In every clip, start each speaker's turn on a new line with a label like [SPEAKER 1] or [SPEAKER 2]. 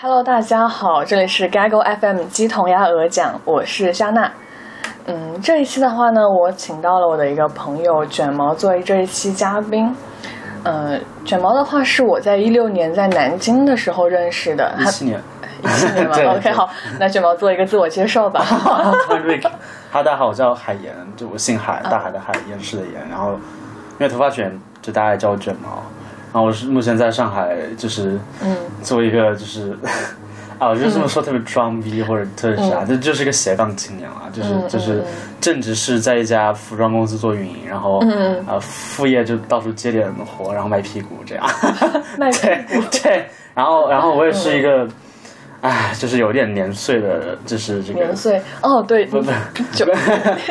[SPEAKER 1] Hello，大家好，这里是 Gaggle FM 鸡同鸭鹅讲，我是夏娜。嗯，这一期的话呢，我请到了我的一个朋友卷毛作为这一期嘉宾。呃，卷毛的话是我在一六年在南京的时候认识的，
[SPEAKER 2] 一七年，
[SPEAKER 1] 一七年
[SPEAKER 2] 对
[SPEAKER 1] 嘛。OK，
[SPEAKER 2] 对
[SPEAKER 1] 好，那卷毛做一个自我介绍 吧。
[SPEAKER 2] 突然 Rick，哈，大家好，我叫海岩，就我姓海，大海的海，岩石的岩。然后因为头发卷，就大家也叫我卷毛。然后我是目前在上海，就是
[SPEAKER 1] 嗯，
[SPEAKER 2] 做一个就是 啊，我就这么说特别装逼或者特别啥，这、就是个斜杠青年啊，就是、
[SPEAKER 1] 嗯嗯嗯
[SPEAKER 2] 就是正职是在一家服装公司做运营，然后啊、
[SPEAKER 1] 嗯
[SPEAKER 2] 呃副业就到处接点活，然后卖屁股这 样。
[SPEAKER 1] 那
[SPEAKER 2] 对对，然后然后我也是
[SPEAKER 1] 嗯
[SPEAKER 2] 一个，哎、就是有点年岁的，就是这个
[SPEAKER 1] 年岁哦，对，
[SPEAKER 2] 不不
[SPEAKER 1] 就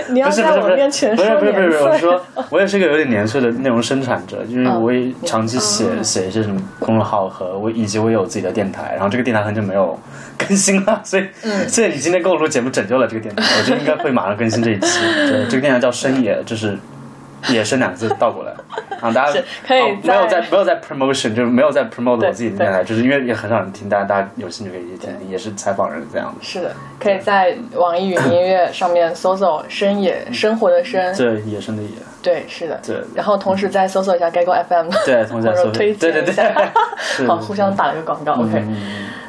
[SPEAKER 1] 你要
[SPEAKER 2] 不是不
[SPEAKER 1] 在
[SPEAKER 2] 是
[SPEAKER 1] 我
[SPEAKER 2] 不是
[SPEAKER 1] 面前
[SPEAKER 2] 不
[SPEAKER 1] 说
[SPEAKER 2] 是不是不
[SPEAKER 1] 年
[SPEAKER 2] 是，我
[SPEAKER 1] 岁。
[SPEAKER 2] 说我也是个有点年岁的内容生产者，因为
[SPEAKER 1] 嗯
[SPEAKER 2] 我也长期写、写一些什么公众号和我以及我也有自己的电台，然后这个电台很久没有更新了，所以、
[SPEAKER 1] 嗯
[SPEAKER 2] 所以你今天跟我录节目拯救了这个电台，我觉得应该会马上更新这一 期。对，这个电台叫深野，就是。野生两个字倒过来，啊，大家
[SPEAKER 1] 是可以
[SPEAKER 2] 哦没有
[SPEAKER 1] 在
[SPEAKER 2] 在没有在 promotion，就是没有在 promote 我自己的
[SPEAKER 1] 对
[SPEAKER 2] 电台，就是因为也很少人听，大家大家有兴趣可以去听，也是采访人这样的。
[SPEAKER 1] 是的，可以在网易云音乐上面搜索“深野生活”的深，
[SPEAKER 2] 这野生的野，
[SPEAKER 1] 对，是的，
[SPEAKER 2] 对
[SPEAKER 1] 然后同时再搜索一下 Gaggle FM，
[SPEAKER 2] 对，同时在
[SPEAKER 1] 或者
[SPEAKER 2] 嗯搜索，
[SPEAKER 1] 推荐
[SPEAKER 2] 对对
[SPEAKER 1] 一
[SPEAKER 2] 对
[SPEAKER 1] 下，
[SPEAKER 2] 是嗯
[SPEAKER 1] 好，互相打了个广告。OK，、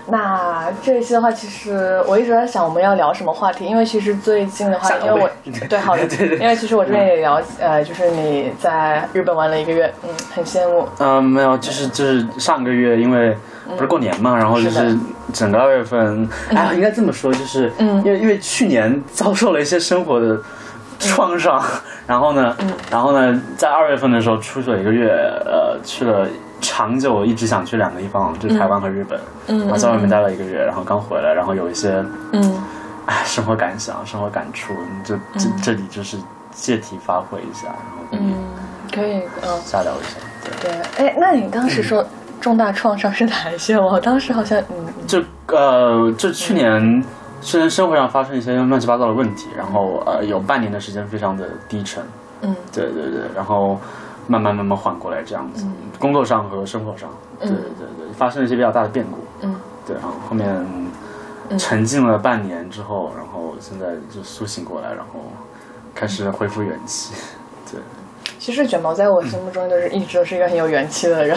[SPEAKER 1] 那这一期的话，其实我一直在想我们要聊什么话题，因为其实最近的话
[SPEAKER 2] 下，头
[SPEAKER 1] 因为我
[SPEAKER 2] 呗
[SPEAKER 1] 对好的，
[SPEAKER 2] 对对
[SPEAKER 1] 因为其实我这边也了解，呃，就是你在日本玩了一个月，嗯，很羡慕，
[SPEAKER 2] 嗯，没有，就是就是上个月，因为不是过年嘛，然后就是
[SPEAKER 1] 的
[SPEAKER 2] 是整个二月份，哎，应该这么说，就是因为因为去年遭受了一些生活的创伤，然后呢，然后呢，在二月份的时候出去了一个月，呃，去了长久我一直想去两个地方，就是台湾和日本，然后在外面待了一个月，然后刚回来，然后有一些
[SPEAKER 1] 嗯，
[SPEAKER 2] 哎生活感想、生活感触，就这这里就是借题发挥一下，然后跟你
[SPEAKER 1] 可以，嗯，
[SPEAKER 2] 瞎聊一下，对。
[SPEAKER 1] 对，哎，那你当
[SPEAKER 2] 嗯
[SPEAKER 1] 时说重大创伤是哪一些？我当时好像，嗯，
[SPEAKER 2] 就呃，就去年，去年生活上发生一些乱七八糟的问题，然后呃，有半年的时间非常的低沉，
[SPEAKER 1] 嗯，
[SPEAKER 2] 对对对，然后慢慢慢慢缓过来这样
[SPEAKER 1] 嗯
[SPEAKER 2] 子，工作上和生活上，对对对，发生了一些比较大的变故，
[SPEAKER 1] 嗯，
[SPEAKER 2] 对，然后后面沉浸了半年之后，然后现在就苏醒过来，然后开始恢复元气，对，
[SPEAKER 1] 其实卷毛在我心目中就是一直都是一个很有元气的人，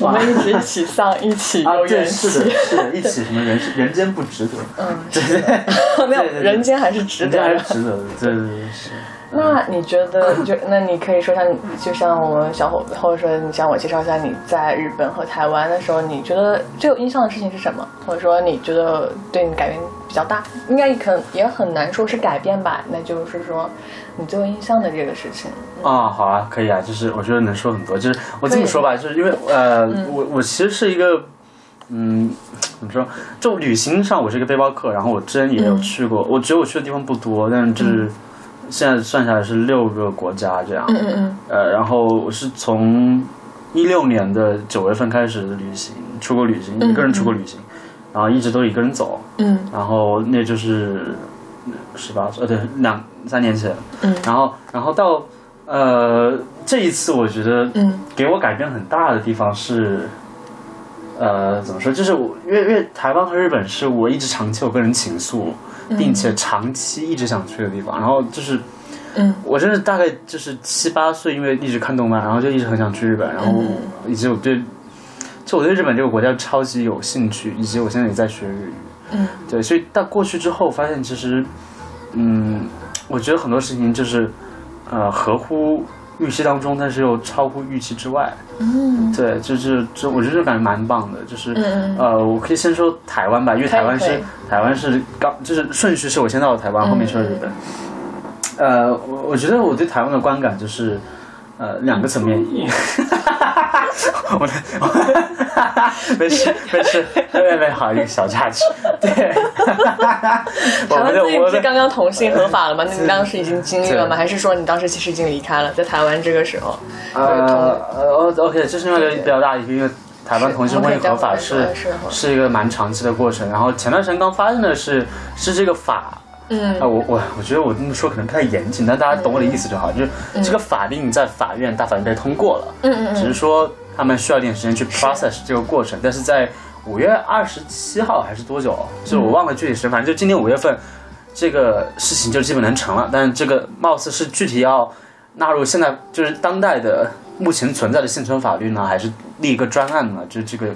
[SPEAKER 1] 我们一直一起丧，一起嗯有元
[SPEAKER 2] 啊对，
[SPEAKER 1] 气。
[SPEAKER 2] 是的，是的，一起什么人人间不值得，
[SPEAKER 1] 嗯，
[SPEAKER 2] 对对对，
[SPEAKER 1] 没有
[SPEAKER 2] 对对对
[SPEAKER 1] 人间还是值
[SPEAKER 2] 人
[SPEAKER 1] 得
[SPEAKER 2] 间还
[SPEAKER 1] 的
[SPEAKER 2] 是。值得的，对对对是。
[SPEAKER 1] 那你觉得就那你可以说像就像我们小伙，或者说你向我介绍一下你在日本和台湾的时候，你觉得最有印象的事情是什么？或者说你觉得对你改变比较大？应该可能也很难说是改变吧，那就是说你最有印象的这个事情。
[SPEAKER 2] 啊、好啊，可以啊，就是我觉得能说很多，就是我这么说吧，就是因为呃，我我其实是一个，嗯，怎么说，就旅行上我是一个背包客，然后我之前也有去过，我觉得我去的地方不多，但是就是现在算下来是六个国家这样，
[SPEAKER 1] 嗯嗯
[SPEAKER 2] 呃，然后我是从一六年的九月份开始旅行，出国旅行，一个人出国旅行，然后一直都一个人走，
[SPEAKER 1] 嗯
[SPEAKER 2] 然后那就是十八岁，呃，对，两三年前，
[SPEAKER 1] 嗯
[SPEAKER 2] 然后然后到呃这一次，我觉得
[SPEAKER 1] 嗯
[SPEAKER 2] 给我改变很大的地方是，呃，怎么说，就是我因为因为台湾和日本是我一直长期有个人情愫，并且长期一直想去的地方，然后就是。
[SPEAKER 1] 嗯，
[SPEAKER 2] 我真是大概就是七八岁，因为一直看动漫，然后就一直很想去日本，然后
[SPEAKER 1] 嗯
[SPEAKER 2] 以及我对，就我对日本这个国家超级有兴趣，以及我现在也在学日语，
[SPEAKER 1] 嗯，
[SPEAKER 2] 对，所以到过去之后，发现其实，嗯，我觉得很多事情就是，呃，合乎预期当中，但是又超乎预期之外。
[SPEAKER 1] 嗯
[SPEAKER 2] 对，就是这，我觉得这感觉蛮棒的。就是、
[SPEAKER 1] 嗯
[SPEAKER 2] 呃，我可以先说台湾吧，因为
[SPEAKER 1] 可以
[SPEAKER 2] 台湾
[SPEAKER 1] 可
[SPEAKER 2] 是
[SPEAKER 1] 以
[SPEAKER 2] 台湾是刚，就是顺序是我先到的台湾，后面去了日
[SPEAKER 1] 嗯
[SPEAKER 2] 本。呃，我我觉得我对台湾的观感就是，呃，两个层 面。一我的，我 没事没事，没没没，好一个小插曲。对， 我
[SPEAKER 1] 台湾
[SPEAKER 2] 们的
[SPEAKER 1] 自己
[SPEAKER 2] 我
[SPEAKER 1] 不是
[SPEAKER 2] 们的
[SPEAKER 1] 刚刚同性合法了吗？那你当时已经经历了吗？
[SPEAKER 2] 对
[SPEAKER 1] 还是说你当时其实已经离开了，在台湾这个时候？就是同
[SPEAKER 2] 呃呃，OK，这是因为比较大的一个，因为台湾同性婚姻合法
[SPEAKER 1] 是我们
[SPEAKER 2] 是
[SPEAKER 1] 可以待会儿再说
[SPEAKER 2] 是一个蛮长期的过程。然后前段时间刚发生的是是这个法。
[SPEAKER 1] 嗯
[SPEAKER 2] 啊，我我我觉得我这么说可能不太严谨，但大家懂我的意思就好。就是这个法令在法嗯院大法院被通过了，嗯嗯，只是说他们需要一点时间去 process 这个过程，但是在五月二十七号还是多久，就我忘了具体时间，反正就今年五月份，这个事情就基本能成了。但是这个貌似是具体要纳入现在就是当代的目前存在的现存法律呢，还是立一个专案呢？就这个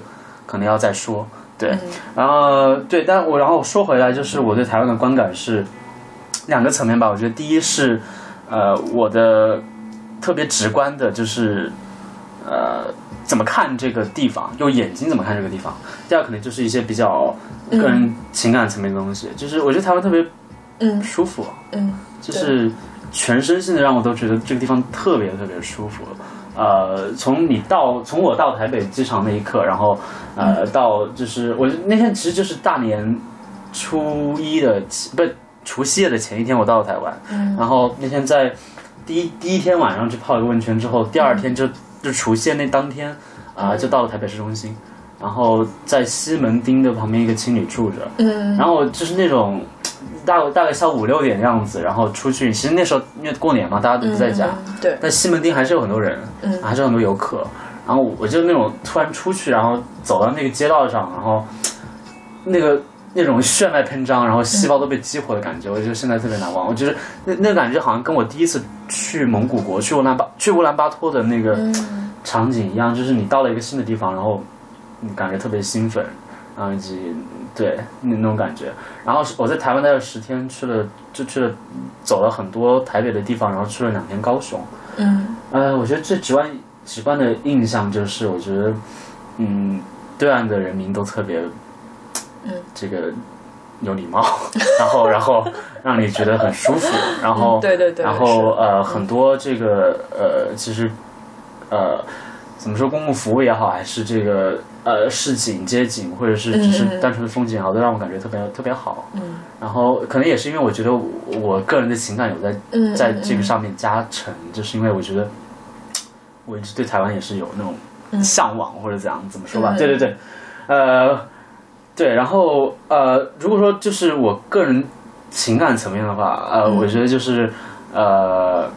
[SPEAKER 2] 可能要再说。对，然后对，但我然后说回来，就是我对台湾的观感是呃两个层面吧。我觉得第一是，呃，我的特别直观的就是，呃，怎么看这个地方，用眼睛怎么看这个地方。第二可能就是一些比较个人情感层面的东西，就是我觉得台湾特别
[SPEAKER 1] 嗯
[SPEAKER 2] 舒服，
[SPEAKER 1] 嗯，
[SPEAKER 2] 就是全身性的让我都觉得这个地方特别特别舒服。呃，从你到从我到台北机场那一刻，然后呃到就是我那天其实就是大年初一的前不除夕夜的前一天，我到了台湾，然后那天在第一第一天晚上去泡了个温泉之后，第二天就、就除夕夜那当天啊、就到了台北市中心，然后在西门町的旁边一个青旅住着，
[SPEAKER 1] 嗯，
[SPEAKER 2] 然后我就是那种大大概下午五六点的样子，然后出去，其实那时候因为过年嘛，大家都不在家，
[SPEAKER 1] 嗯对，
[SPEAKER 2] 但西门町还是有很多人，还是有很多游客。然后我就那种突然出去，然后走到那个街道上，然后那个那种血脉喷张，
[SPEAKER 1] 嗯
[SPEAKER 2] 然后细胞都被激活的感觉，我就现在特别难忘。我觉得那那感觉好像跟我第一次去蒙古国、去乌兰巴、去乌兰巴托的那个场景一样，就是你到了一个新的地方，然后你感觉特别兴奋，啊然后以及对那那种感觉。然后是我在台湾待了十天，去了就去了走了很多台北的地方，然后去了两天高雄。
[SPEAKER 1] 嗯
[SPEAKER 2] 呃，我觉得最直观直观的印象就是，我觉得，嗯，对岸的人民都特别，
[SPEAKER 1] 嗯，
[SPEAKER 2] 这个有礼貌，然后然后让你觉得很舒服，然
[SPEAKER 1] 嗯
[SPEAKER 2] 后、
[SPEAKER 1] 对对对嗯
[SPEAKER 2] 然后呃，很多这个呃，其实呃，怎么说，公共服务也好，还是这个呃市井街景，或者是只是
[SPEAKER 1] 嗯嗯嗯
[SPEAKER 2] 单纯的风景也好，都让我感觉特别特别好。
[SPEAKER 1] 嗯
[SPEAKER 2] 然后可能也是因为我觉得我我个人的情感有在
[SPEAKER 1] 嗯，
[SPEAKER 2] 在这个上面加成，就是因为我觉得我一直对台湾也是有那种向往或者怎样怎么说吧，
[SPEAKER 1] 嗯
[SPEAKER 2] 对对对，呃，对，然后呃，如果说就是我个人情感层面的话，呃，
[SPEAKER 1] 嗯
[SPEAKER 2] 我觉得就是呃，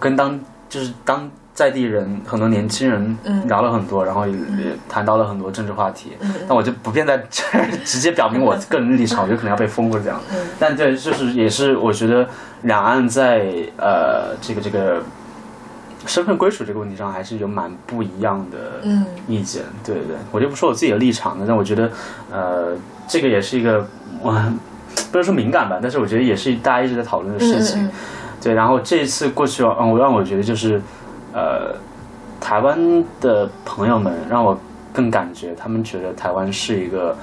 [SPEAKER 2] 跟当就是当在地人很多年轻人
[SPEAKER 1] 嗯
[SPEAKER 2] 聊了很多，然后也也谈到了很多政治话题，但我就不便在这儿直接表明我个人立场，我觉得可能要被封或者怎样。
[SPEAKER 1] 嗯
[SPEAKER 2] 但对，就是也是我觉得两岸在呃这个这个身份归属这个问题上还是有蛮不一样的
[SPEAKER 1] 嗯
[SPEAKER 2] 意见。对对对，我就不说我自己的立场了，但我觉得呃这个也是一个我 不能说敏感吧，但是我觉得也是大家一直在讨论的
[SPEAKER 1] 嗯
[SPEAKER 2] 事情。
[SPEAKER 1] 嗯
[SPEAKER 2] 对，然后这一次过去，嗯，我让我觉得就是，呃，台湾的朋友们让我更感觉，他们觉得台湾是一个，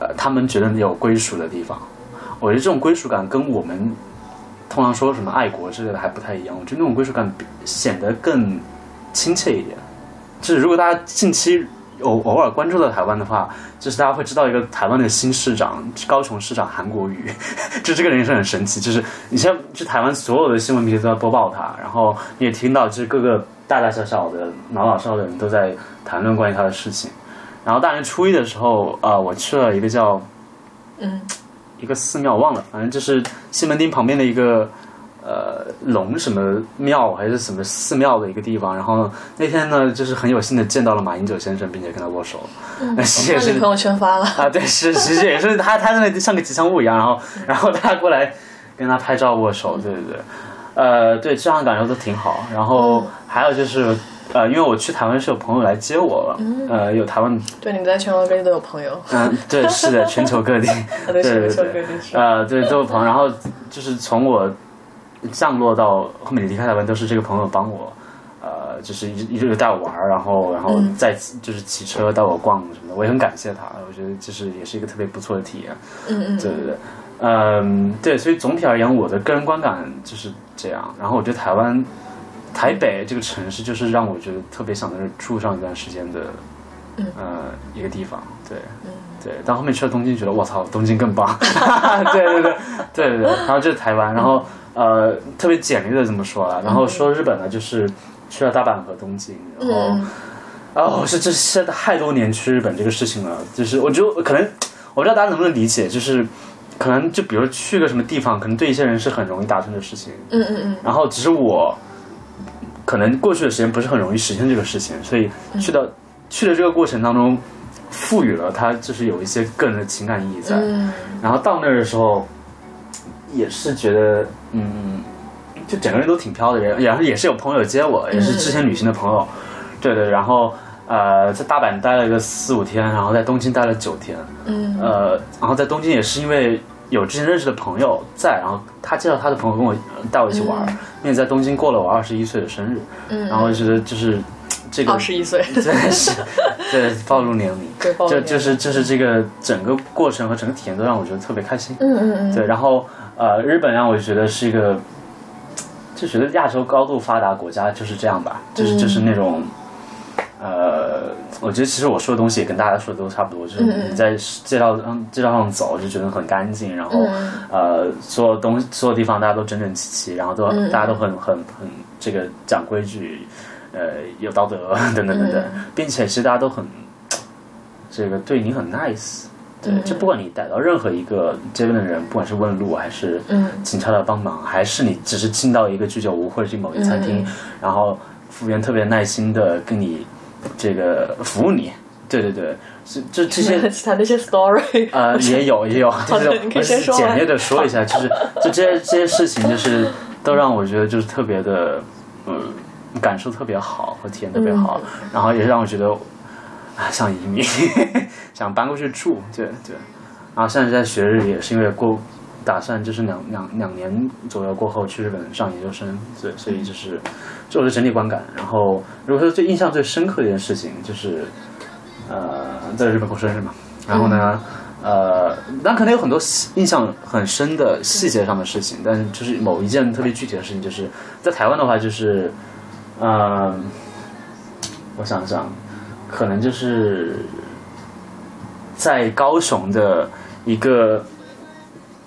[SPEAKER 2] 呃，他们觉得有归属的地方。我觉得这种归属感跟我们通常说什么爱国之类的还不太一样，我觉得那种归属感比显得更亲切一点。就是如果大家近期偶偶尔关注到台湾的话，就是大家会知道一个台湾的新市长，高雄市长韩国瑜， 就这个人也是很神奇。就是你像就台湾所有的新闻媒体都在播报他，然后你也听到就是各个大大小小的老老少少的人都在谈论关于他的事情。然后大年初一的时候，呃，我去了一个叫
[SPEAKER 1] 嗯
[SPEAKER 2] 一个寺庙，我忘了，反正就是西门町旁边的一个呃龙什么庙还是什么寺庙的一个地方。然后那天呢，就是很有幸的见到了马英九先生，并且跟他握手，那、其实也
[SPEAKER 1] 那
[SPEAKER 2] 是
[SPEAKER 1] 你朋友圈发了，
[SPEAKER 2] 啊，对，是其实也是他他在那里像个吉祥物一样，然后然后大家过来跟他拍照握手，对对对，呃，对，这样感受都挺好。然后还有就是，呃，因为我去台湾是有朋友来接我了，呃，有台湾
[SPEAKER 1] 对，你们在全国各地都有朋友，
[SPEAKER 2] 嗯，对，是的，全球各地，对
[SPEAKER 1] 对
[SPEAKER 2] 对
[SPEAKER 1] 全球各
[SPEAKER 2] 对
[SPEAKER 1] 地，是
[SPEAKER 2] 呃，对，都有朋友。然后就是从我降落到后面离开台湾，都是这个朋友帮我，呃，就是一一直带我玩儿，然后然后再骑就是骑车带我逛什么的，我也很感谢他。我觉得就是也是一个特别不错的体验。
[SPEAKER 1] 嗯嗯，
[SPEAKER 2] 对对对，嗯，对，所以总体而言，我的个人观感就是这样。然后我觉得台湾台北这个城市，就是让我觉得特别想在这儿住上一段时间的，
[SPEAKER 1] 嗯
[SPEAKER 2] 呃，一个地方。对，对。但后面去了东京，觉得我操，东京更棒。 对对对对对对。然后这是台湾，然后
[SPEAKER 1] 嗯
[SPEAKER 2] 呃，特别简略的这么说啊了。然后说日本呢，就是去了大阪和东京，然后。
[SPEAKER 1] 嗯
[SPEAKER 2] 哦，是这现在太多年去日本这个事情了，就是我觉得可能我不知道大家能不能理解，就是可能就比如去个什么地方，可能对一些人是很容易达成的事情，
[SPEAKER 1] 嗯嗯嗯
[SPEAKER 2] 然后只是我可能过去的时间不是很容易实现这个事情，所以去到、去的这个过程当中，赋予了它就是有一些个人的情感意义在。
[SPEAKER 1] 嗯
[SPEAKER 2] 然后到那儿的时候，也是觉得嗯，就整个人都挺飘的，然后也是有朋友接我，也是之前旅行的朋友，对对，然后。呃，在大阪待了个四五天，然后在东京待了九天，
[SPEAKER 1] 嗯
[SPEAKER 2] 呃，然后在东京也是因为有之前认识的朋友在，然后他介绍他的朋友跟我带我一起玩，
[SPEAKER 1] 嗯
[SPEAKER 2] 并且在东京过了我二十一岁的生日，
[SPEAKER 1] 嗯，
[SPEAKER 2] 然后觉得就是这个
[SPEAKER 1] 二 十一岁，
[SPEAKER 2] 真是对暴露年龄，
[SPEAKER 1] 对，
[SPEAKER 2] 就就是就是这个整个过程和整个体验都让我觉得特别开心。
[SPEAKER 1] 嗯嗯嗯，
[SPEAKER 2] 对，然后呃，日本让我觉得是一个，就觉得亚洲高度发达国家就是这样吧，就是
[SPEAKER 1] 嗯
[SPEAKER 2] 就是那种。呃，我觉得其实我说的东西也跟大家说的都差不多，就是
[SPEAKER 1] 嗯嗯
[SPEAKER 2] 你在街道上街道上走就觉得很干净，然后、
[SPEAKER 1] 嗯
[SPEAKER 2] 呃，所有东西所有地方大家都整整齐齐，然后都、
[SPEAKER 1] 嗯嗯
[SPEAKER 2] 大家都很很很这个讲规矩，呃，有道德等等等等，
[SPEAKER 1] 嗯
[SPEAKER 2] 并且其实大家都很这个对你很 nice，对，
[SPEAKER 1] 嗯
[SPEAKER 2] 就不管你逮到任何一个街边的人，不管是问路还是
[SPEAKER 1] 嗯
[SPEAKER 2] 警察的帮忙，还是你只是进到一个居酒屋或者是某一餐厅，
[SPEAKER 1] 嗯
[SPEAKER 2] 然后服务员特别耐心的跟你这个服务你，对对对，是这这些
[SPEAKER 1] 其他那些 story，
[SPEAKER 2] 呃， 也有也有，就
[SPEAKER 1] 的
[SPEAKER 2] 是
[SPEAKER 1] 你可以
[SPEAKER 2] 我
[SPEAKER 1] 先说
[SPEAKER 2] 简
[SPEAKER 1] 完
[SPEAKER 2] 略的说一下， 就是就这些这些事情，就是都让我觉得就是特别的，嗯，感受特别好和体验特别好，
[SPEAKER 1] 嗯
[SPEAKER 2] 然后也让我觉得啊想移民， 想搬过去住，对对，然后现在在学日语，也是因为过打算就是两两两年左右过后去日本上研究生，所以所以就是这我的整体观感。然后如果说最印象最深刻的一件事情，就是呃在日本过生日嘛，然后
[SPEAKER 1] 嗯
[SPEAKER 2] 呢。呃，那可能有很多细印象很深的细节上的事情，但是就是某一件特别具体的事情，就是在台湾的话，就是，嗯、我想想，可能就是在高雄的一个，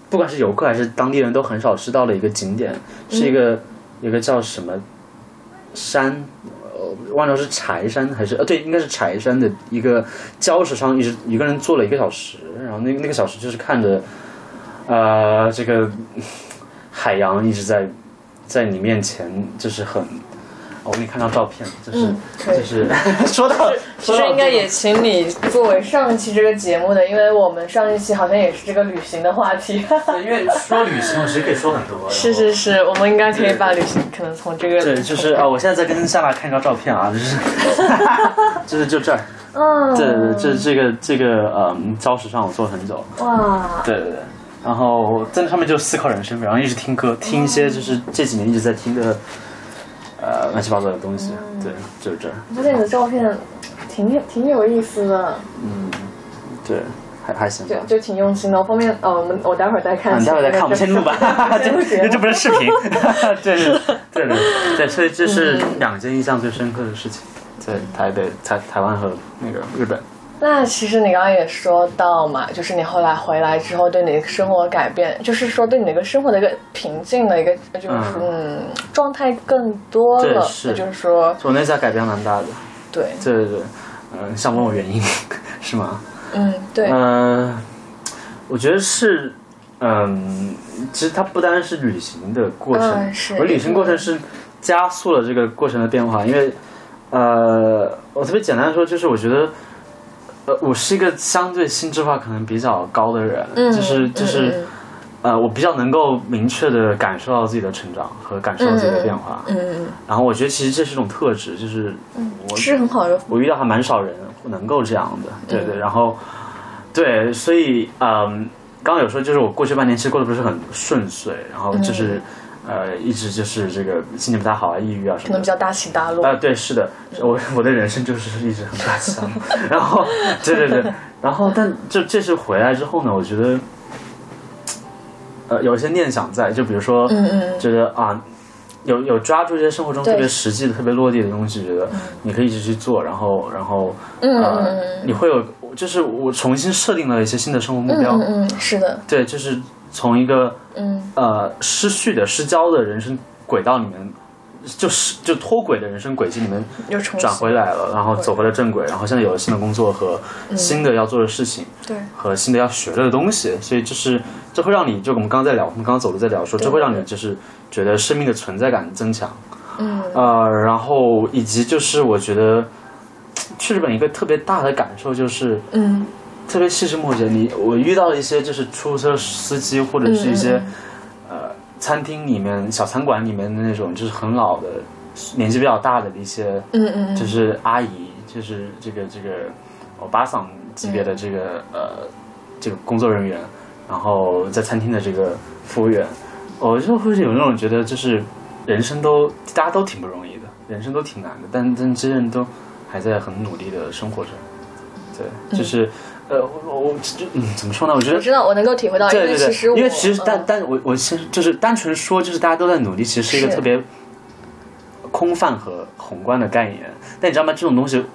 [SPEAKER 2] 不管是游客还是当地人都很少知道的一个景点，
[SPEAKER 1] 嗯
[SPEAKER 2] 是一个有一个叫什么山，呃，忘了是柴山还是呃对，应该是柴山的一个礁石上，一直一个人坐了一个小时，然后那那个小时就是看着，呃，这个海洋一直在在你面前，就是很。哦我给你看张照片，就是、
[SPEAKER 1] 嗯可以
[SPEAKER 2] 就是 说到
[SPEAKER 1] 其
[SPEAKER 2] 说
[SPEAKER 1] 实
[SPEAKER 2] 到
[SPEAKER 1] 应该
[SPEAKER 2] 这个
[SPEAKER 1] 也请你作为上一期这个节目的，因为我们上一期好像也是这个旅行的话题。
[SPEAKER 2] 对，因为说旅行，我其实可以说很 多。
[SPEAKER 1] 是是是，我们应该可以把旅行可能从这个
[SPEAKER 2] 对，就是
[SPEAKER 1] 哦
[SPEAKER 2] 啊、我现在在跟夏娜看一张照片啊，就是 就是就这儿，
[SPEAKER 1] 嗯
[SPEAKER 2] 对对对，这这个这个嗯，礁石上我坐了很久，
[SPEAKER 1] 嗯哇
[SPEAKER 2] 对对对，然后在那上面就思考人生，然后一直听歌，听一些就是这几年一直在听的，呃，乱七八糟的东西，对，就是这儿，
[SPEAKER 1] 发现你的照片挺挺有意思的，
[SPEAKER 2] 对，还还行吧
[SPEAKER 1] 就。就挺用心的。我方面呃，我们我待会儿再看。
[SPEAKER 2] 啊你待会儿再看，我们先录吧，
[SPEAKER 1] 先录节
[SPEAKER 2] 这这
[SPEAKER 1] 目。
[SPEAKER 2] 不是视频，对对对对对，所以这是两件印象最深刻的事情，在台北、台台湾和那个日本。
[SPEAKER 1] 那其实你刚刚也说到嘛，就是你后来回来之后对你的生活改变，就是说对你的一个生活的一个平静的一个，就是说嗯状态更多
[SPEAKER 2] 对
[SPEAKER 1] 了，
[SPEAKER 2] 是
[SPEAKER 1] 也就是说
[SPEAKER 2] 我那家改变蛮大的，
[SPEAKER 1] 对，
[SPEAKER 2] 对对对，嗯、想问我原因 是吗？
[SPEAKER 1] 嗯对，
[SPEAKER 2] 嗯、我觉得是，嗯、其实它不单是旅行的过程，
[SPEAKER 1] 嗯是
[SPEAKER 2] 我旅行过程是加速了这个过程的变化，因为，呃，我特别简单地说，就是我觉得。呃，我是一个相对心智化可能比较高的人，
[SPEAKER 1] 嗯
[SPEAKER 2] 就是就是、
[SPEAKER 1] 嗯
[SPEAKER 2] 呃，我比较能够明确的感受到自己的成长和感受到自己的变化。
[SPEAKER 1] 嗯嗯嗯
[SPEAKER 2] 然后我觉得其实这是一种特质，就是我
[SPEAKER 1] 嗯，是很好的，
[SPEAKER 2] 我遇到还蛮少人能够这样的，
[SPEAKER 1] 嗯
[SPEAKER 2] 对对。然后，对，所以嗯，刚刚有说就是我过去半年其实过得不是很顺遂，然后就是、
[SPEAKER 1] 嗯
[SPEAKER 2] 呃一直就是这个心情不太好啊，抑郁啊什
[SPEAKER 1] 可能
[SPEAKER 2] 么的
[SPEAKER 1] 比。较大起大落
[SPEAKER 2] 啊、。对，是的，我 我的人生就是一直很大起大 落然后，对对对，然后但就这次回来之后呢，我觉得，呃，有一些念想在，就比如说，
[SPEAKER 1] 嗯嗯
[SPEAKER 2] 觉得啊，有有抓住这些生活中
[SPEAKER 1] 对
[SPEAKER 2] 特别实际的、特别落地的东西，觉得你可以一直去做，然后然后
[SPEAKER 1] 嗯嗯
[SPEAKER 2] 呃
[SPEAKER 1] 嗯，
[SPEAKER 2] 你会有，就是我重新设定了一些新的生活目标，
[SPEAKER 1] 嗯嗯嗯，是的，
[SPEAKER 2] 对，就是从一个
[SPEAKER 1] 嗯
[SPEAKER 2] 呃失序的、失焦的人生轨道里面，就是就脱轨的人生轨迹里面
[SPEAKER 1] 又重
[SPEAKER 2] 转
[SPEAKER 1] 新
[SPEAKER 2] 回来了，然后走回了正轨，然后现在有了新的工作和新的要做的事情。
[SPEAKER 1] 对，
[SPEAKER 2] 和新的要学的东西，所以就是这会让你就我们刚刚在聊，我们刚刚走路在聊说，这会让你就是觉得生命的存在感增强，啊
[SPEAKER 1] 嗯
[SPEAKER 2] 呃，然后以及就是我觉得，去日本一个特别大的感受就是，
[SPEAKER 1] 嗯
[SPEAKER 2] 特别细枝末节，你我遇到一些就是出租车司机或者是一
[SPEAKER 1] 嗯
[SPEAKER 2] 些、呃餐厅里面小餐馆里面的那种就是很老的年纪比较大的一些
[SPEAKER 1] 嗯嗯
[SPEAKER 2] 就
[SPEAKER 1] 嗯
[SPEAKER 2] 是阿姨，就是这个这个欧巴桑级别的这个、
[SPEAKER 1] 嗯
[SPEAKER 2] 呃这个工作人员，然后在餐厅的这个服务员，我就会有那种觉得就是人生都大家都挺不容易的，人生都挺难的，但但这些人都还在很努力的生活着，对，就是、呃我我就嗯怎么说呢？我觉
[SPEAKER 1] 我
[SPEAKER 2] 得
[SPEAKER 1] 知道，我能够体会啊到，因
[SPEAKER 2] 对
[SPEAKER 1] 为
[SPEAKER 2] 对
[SPEAKER 1] 其
[SPEAKER 2] 对
[SPEAKER 1] 实，我
[SPEAKER 2] 因为其实
[SPEAKER 1] 嗯
[SPEAKER 2] 但但我我先就是单纯说，就是大家都在努力，其实是一个
[SPEAKER 1] 是
[SPEAKER 2] 特别空泛和宏观的概念。但你知道吗？这种东西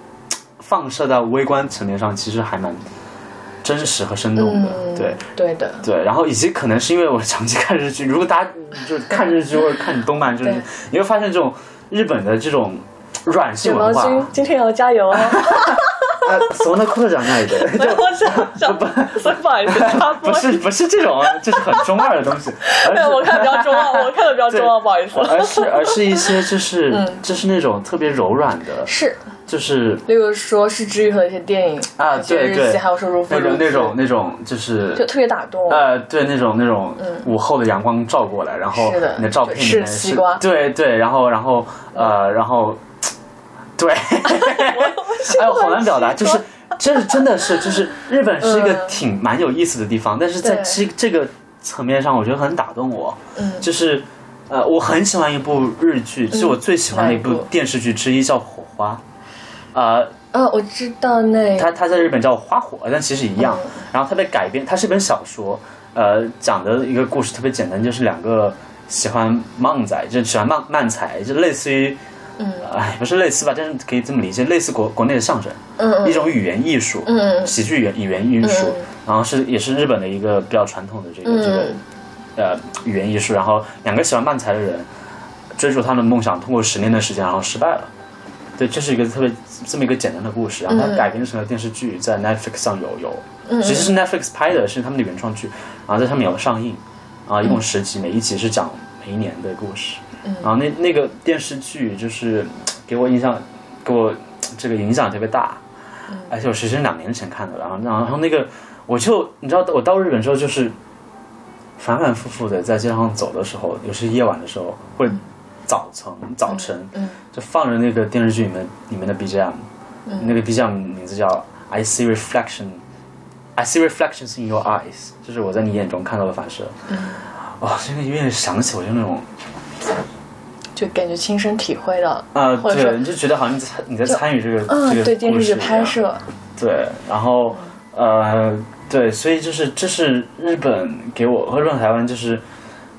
[SPEAKER 2] 放射到微观层面上，其实还蛮真实和生动的。
[SPEAKER 1] 嗯
[SPEAKER 2] 对
[SPEAKER 1] 对的，
[SPEAKER 2] 对，然后以及可能是因为我长期看日剧，如果大家就是看日剧或者看动漫，就是
[SPEAKER 1] 对
[SPEAKER 2] 你会发现这种日本的这种软性
[SPEAKER 1] 卷毛
[SPEAKER 2] 文化，
[SPEAKER 1] 君今天也要加油哦！
[SPEAKER 2] 呃，そんなことじゃないで。
[SPEAKER 1] 我想想，所以不好意思插播
[SPEAKER 2] 不，是不是这种，就是很中二的东西。而
[SPEAKER 1] 对，
[SPEAKER 2] 是
[SPEAKER 1] 我看的比较中二，我看的比较中二，啊不好意思。
[SPEAKER 2] 哦而是而是一些就是、
[SPEAKER 1] 嗯
[SPEAKER 2] 就是那种特别柔软的，
[SPEAKER 1] 是，
[SPEAKER 2] 就是
[SPEAKER 1] 例如说是治愈和一些电影
[SPEAKER 2] 啊
[SPEAKER 1] 有些
[SPEAKER 2] 对
[SPEAKER 1] 日
[SPEAKER 2] 对
[SPEAKER 1] 记，还有说如父
[SPEAKER 2] 那
[SPEAKER 1] 如
[SPEAKER 2] 种
[SPEAKER 1] 父
[SPEAKER 2] 那种那种就是
[SPEAKER 1] 就特别打动。
[SPEAKER 2] 呃对那种那种午后的阳光照过来，然后
[SPEAKER 1] 是的
[SPEAKER 2] 你的照片里
[SPEAKER 1] 是
[SPEAKER 2] 面
[SPEAKER 1] 西瓜嗯
[SPEAKER 2] 对对，然后然后呃然后 对， 哎呦好难表达，就是。这真的是，就是日本是一个
[SPEAKER 1] 嗯
[SPEAKER 2] 挺蛮有意思的地方，但是在
[SPEAKER 1] 对
[SPEAKER 2] 这这个层面上，我觉得很打动我。
[SPEAKER 1] 嗯
[SPEAKER 2] 就是呃，我很喜欢一部日剧，是我最喜欢的一
[SPEAKER 1] 哪一
[SPEAKER 2] 部
[SPEAKER 1] 部
[SPEAKER 2] 电视剧之一，叫《火花》。呃，
[SPEAKER 1] 啊，我知道那
[SPEAKER 2] 它它在日本叫《花火》，但其实一样。
[SPEAKER 1] 嗯
[SPEAKER 2] 然后它被改编，它是一本小说，呃，讲的一个故事特别简单，就是两个喜欢漫仔，就喜欢漫漫才，就类似于，
[SPEAKER 1] 嗯
[SPEAKER 2] 哎，不是类似吧，但是可以这么理解，类似国国内的相声，
[SPEAKER 1] 嗯嗯
[SPEAKER 2] 一种语言艺术，
[SPEAKER 1] 嗯嗯
[SPEAKER 2] 喜剧语言语言艺术，
[SPEAKER 1] 嗯
[SPEAKER 2] 然后是也是日本的一个比较传统的这个、这个
[SPEAKER 1] 嗯
[SPEAKER 2] 呃语言艺术，然后两个喜欢漫才的人追逐他们的梦想，通过十年的时间，然后失败了。对，这是一个特别这么一个简单的故事，然后它
[SPEAKER 1] 嗯
[SPEAKER 2] 改编成了电视剧，在 Netflix 上有有，
[SPEAKER 1] 嗯
[SPEAKER 2] 其实是 Netflix 拍的，是他们的原创剧，然后在上面有上映，啊，
[SPEAKER 1] 嗯
[SPEAKER 2] 一共十集，每一集是讲每一年的故事，然后那那个电视剧就是嗯给我印象，给我嗯这个影响特别大，
[SPEAKER 1] 嗯
[SPEAKER 2] 而且我其实是两年前看的，然后然后那个我就你知道我到日本之后就是反反复复的在街上走的时候，尤其是夜晚的时候，或者早晨早晨，
[SPEAKER 1] 嗯
[SPEAKER 2] 就放着那个电视剧里面里面的 BGM，、那
[SPEAKER 1] 嗯
[SPEAKER 2] 个 BGM 名字叫 I see reflection。I see reflections in your eyes，就是我在你眼中看到的反射。
[SPEAKER 1] 嗯
[SPEAKER 2] 哇、这个音乐响起，我就那种
[SPEAKER 1] 就感觉亲身体会到，
[SPEAKER 2] 啊、
[SPEAKER 1] 或者
[SPEAKER 2] 对，
[SPEAKER 1] 说
[SPEAKER 2] 你就觉得好像你在你在参与这个、这
[SPEAKER 1] 嗯，
[SPEAKER 2] 个
[SPEAKER 1] 对电视剧
[SPEAKER 2] 故
[SPEAKER 1] 的
[SPEAKER 2] 事一样啊
[SPEAKER 1] 拍摄，
[SPEAKER 2] 对，然后呃，对，所以就是这是日本给我和日本台湾就是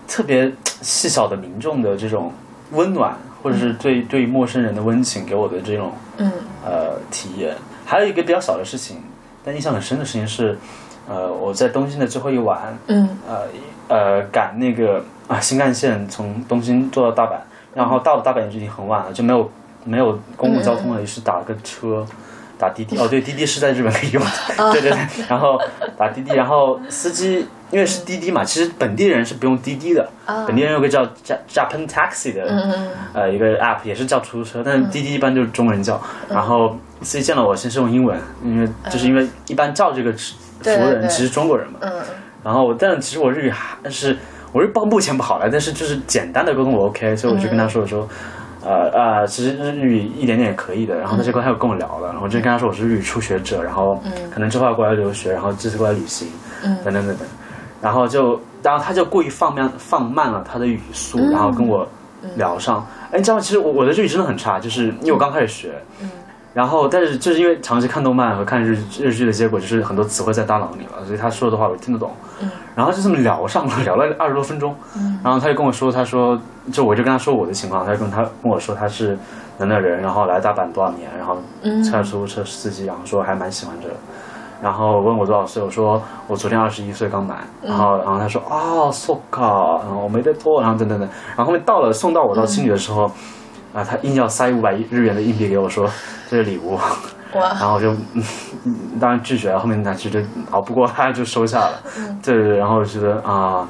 [SPEAKER 2] 特别细小的民众的这种温暖，或者是对对于陌生人的温情给我的这种
[SPEAKER 1] 嗯
[SPEAKER 2] 呃体验。还有一个比较小的事情，但印象很深的事情是，呃，我在东京的最后一晚，
[SPEAKER 1] 嗯
[SPEAKER 2] 呃呃赶那个啊新干线从东京坐到大阪，然
[SPEAKER 1] 嗯
[SPEAKER 2] 后到了大阪也是已经很晚了，就没有没有公共交通了，于是打了个车。打滴滴哦，对，滴滴是在日本可以用
[SPEAKER 1] 哦
[SPEAKER 2] 的， 对对对。然后打滴滴，然后司机因为是滴滴嘛，其实本地人是不用滴滴的，本地人有个叫 Ja- Japan Taxi 的，
[SPEAKER 1] 哦嗯嗯
[SPEAKER 2] 呃一个 app 也是叫出租车，但是滴滴一般就是中文叫，
[SPEAKER 1] 嗯
[SPEAKER 2] 然后司机见到我先是用英文，因为就是因为一般叫这个服务
[SPEAKER 1] 对对
[SPEAKER 2] 人
[SPEAKER 1] 对
[SPEAKER 2] 其实中国人嘛，
[SPEAKER 1] 嗯
[SPEAKER 2] 然后我但其实我日语还是我日报目前不好了，但是就是简单的沟通我 OK，所以我就跟他说我说。呃啊、其实日语一点点也可以的。然后他就跟他又跟我聊了，然后我就跟他说我是日语初学者，然后可能之后要过来留学，然后这次过来旅行，等等等等。然后就，然后他就故意放慢放慢了他的语速，然后跟我聊上。哎，你知道吗？其实我我的日语真的很差，就是因为我刚开始学，然后但是就是因为长期看动漫和看日日剧的结果，就是很多词汇在大脑里了，所以他说的话我听得懂。然后就这么聊上了，聊了二十多分钟。然后他就跟我说，他说就我就跟他说我的情况，他就跟他跟我说他是南的人，然后来大阪多少年，然后开出租车司机，然后说还蛮喜欢这。然后问我多少岁，我说我昨天二十一岁刚满，然后然后他说啊，so ka，然后我没得多，然后等等等，然后后面到了送到我到青旅的时候，啊，他硬要塞五百日元的硬币给我说这是礼物，
[SPEAKER 1] 嗯，哇，
[SPEAKER 2] 然后我就、 嗯嗯当然拒绝了，后面那其实就熬不过他就收下了，
[SPEAKER 1] 嗯
[SPEAKER 2] 对对对，然后我觉得啊、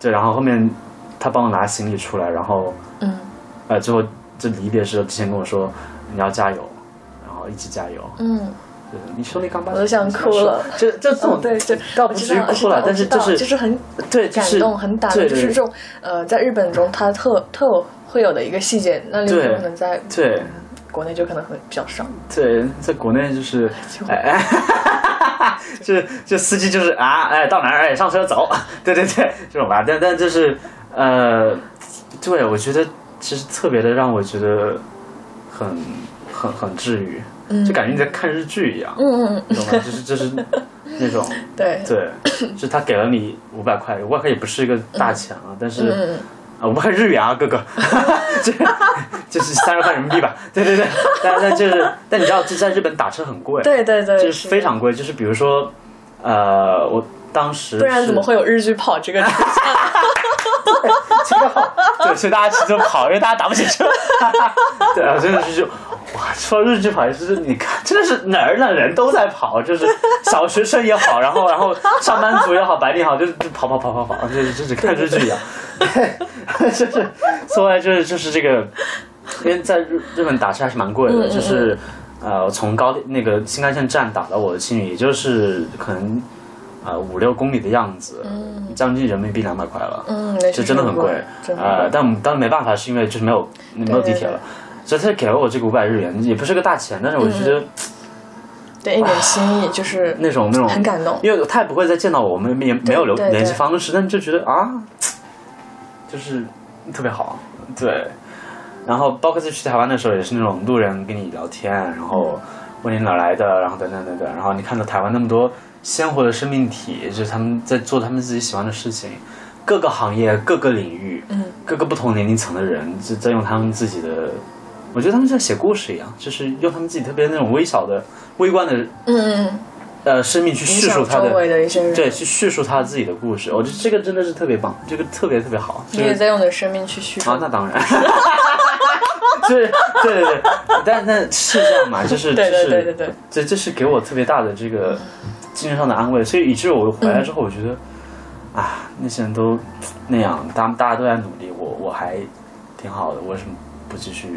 [SPEAKER 2] 对，然后后面他帮我拿行李出来，然后
[SPEAKER 1] 嗯
[SPEAKER 2] 呃最后这离别时候之前跟我说你要加油，然好，一起加油。
[SPEAKER 1] 嗯，
[SPEAKER 2] 对你说那刚巴，
[SPEAKER 1] 我都想哭了。
[SPEAKER 2] 就就这种
[SPEAKER 1] 哦对就
[SPEAKER 2] 倒
[SPEAKER 1] 我
[SPEAKER 2] 不
[SPEAKER 1] 知
[SPEAKER 2] 至于
[SPEAKER 1] 道，
[SPEAKER 2] 哭
[SPEAKER 1] 我
[SPEAKER 2] 了，
[SPEAKER 1] 知
[SPEAKER 2] 但是
[SPEAKER 1] 道
[SPEAKER 2] 是
[SPEAKER 1] 就
[SPEAKER 2] 就是
[SPEAKER 1] 很
[SPEAKER 2] 对，就
[SPEAKER 1] 感
[SPEAKER 2] 是
[SPEAKER 1] 动，很打动，
[SPEAKER 2] 对
[SPEAKER 1] 就是这种呃，在日本中它特特有会有的一个细节，那里
[SPEAKER 2] 对
[SPEAKER 1] 可能在
[SPEAKER 2] 对
[SPEAKER 1] 国内就可能会比较少。
[SPEAKER 2] 对，在国内就是
[SPEAKER 1] 就
[SPEAKER 2] 哎哎。就就司机就是啊，哎，到哪儿哎，上车走，对对对，这种吧。但但就是呃，对我觉得其实特别的让我觉得很很很治愈，就感觉你在看日剧一样，
[SPEAKER 1] 嗯嗯嗯，
[SPEAKER 2] 懂吗？就是就是 那种
[SPEAKER 1] 对，
[SPEAKER 2] 对，就是他给了你五百块，五百块也不是一个大钱啊，但是
[SPEAKER 1] 嗯
[SPEAKER 2] 啊，五百块日元啊，哥哥，这就是三十块人民币吧？对对对，但但就是，但你知道，就在日本打车很贵，
[SPEAKER 1] 对对对，
[SPEAKER 2] 就是非常贵，就是比如说，呃，我当时
[SPEAKER 1] 不然
[SPEAKER 2] 是
[SPEAKER 1] 怎么会有日剧跑这个出 现？
[SPEAKER 2] 对，所以大家骑车跑，因为大家打不起车。 对啊，真的是就哇，说日剧跑就是你看，真的是哪儿哪儿人都在跑，就是小学生也好，然后然后上班族也好，白领也好，就是就跑跑跑跑跑，就是就是看日剧一样。对， 就是说来就是就是这个，因为在日日本打车还是蛮贵的，就是呃从高铁那个新干线站打到我的青旅，也就是可能。呃，五六公里的样子，将近人民币两百块了。
[SPEAKER 1] 嗯，那
[SPEAKER 2] 就真的很贵
[SPEAKER 1] 真，的
[SPEAKER 2] 呃
[SPEAKER 1] 很，贵。
[SPEAKER 2] 但我们当然没办法，是因为就是没有没有地铁了，所以他给了我这个五百日元，也不是个大钱，但是我觉得
[SPEAKER 1] 嗯对，一点心意就是
[SPEAKER 2] 那种那种
[SPEAKER 1] 很感动。
[SPEAKER 2] 因为他也不会再见到我，我们也没有留
[SPEAKER 1] 对对
[SPEAKER 2] 联系方式，但就觉得啊，就是特别好，对。然后包括在去台湾的时候，也是那种路人跟你聊天，然后问你哪儿来的，然后等等等等，然后你看到台湾那么多鲜活的生命体，就是他们在做他们自己喜欢的事情，各个行业、各个领域，
[SPEAKER 1] 嗯，
[SPEAKER 2] 各个不同年龄层的人在在用他们自己的，我觉得他们就在写故事一样，就是用他们自己特别那种微小的、微观的
[SPEAKER 1] 嗯嗯嗯，
[SPEAKER 2] 呃生命去
[SPEAKER 1] 影
[SPEAKER 2] 叙
[SPEAKER 1] 响
[SPEAKER 2] 述他
[SPEAKER 1] 周
[SPEAKER 2] 的
[SPEAKER 1] 围的一些人，
[SPEAKER 2] 对，去叙述他自己的故事，我觉得这个真的是特别棒，这个特别特别好。就
[SPEAKER 1] 你也
[SPEAKER 2] 是
[SPEAKER 1] 在用你的生命去叙述
[SPEAKER 2] 啊，。那当然， 就是对对对，但但是这样嘛，就 是
[SPEAKER 1] 对对对对
[SPEAKER 2] 就是
[SPEAKER 1] 对，
[SPEAKER 2] 这这是给我特别大的这个精神上的安慰，所以以至于我回来之后，我觉得、啊，那些人都那样，大大家都在努力，我我还挺好的，我为什么不继续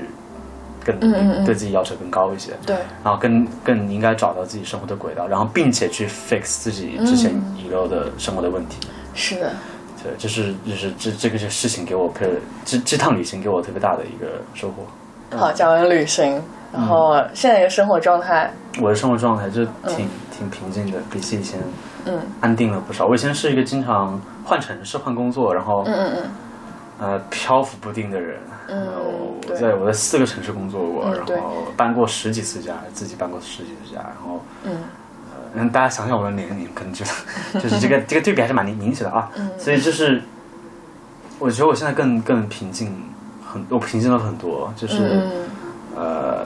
[SPEAKER 2] 更努力，
[SPEAKER 1] 嗯嗯嗯
[SPEAKER 2] 对自己要求更高一些？
[SPEAKER 1] 对，
[SPEAKER 2] 然后啊更更应该找到自己生活的轨道，然后并且去 fix 自己之前遗留的生活的问题。
[SPEAKER 1] 是的，
[SPEAKER 2] 对，这是就是这这个这事情给我特这这趟旅行给我特别大的一个收获。
[SPEAKER 1] 好，讲完旅行，
[SPEAKER 2] 嗯
[SPEAKER 1] 然后现在一个生活状态，
[SPEAKER 2] 我的生活状态就挺、挺平静的，比起以前
[SPEAKER 1] 嗯
[SPEAKER 2] 安定了不少。我以前是一个经常换城市、换工作，然后、
[SPEAKER 1] 嗯嗯
[SPEAKER 2] 呃漂浮不定的人。
[SPEAKER 1] 嗯
[SPEAKER 2] 呃我我
[SPEAKER 1] 对
[SPEAKER 2] 在我在四个城市工作过，
[SPEAKER 1] 嗯对
[SPEAKER 2] 然后搬过十几次家，自己搬过十几次家，然后
[SPEAKER 1] 嗯
[SPEAKER 2] 嗯，大家想想我的年龄，可 能觉得就是这个这个对比还是蛮明明显的啊。
[SPEAKER 1] 嗯
[SPEAKER 2] 所以就是，我觉得我现在更更平静，很我平静了很多，就是、
[SPEAKER 1] 嗯嗯，
[SPEAKER 2] 呃，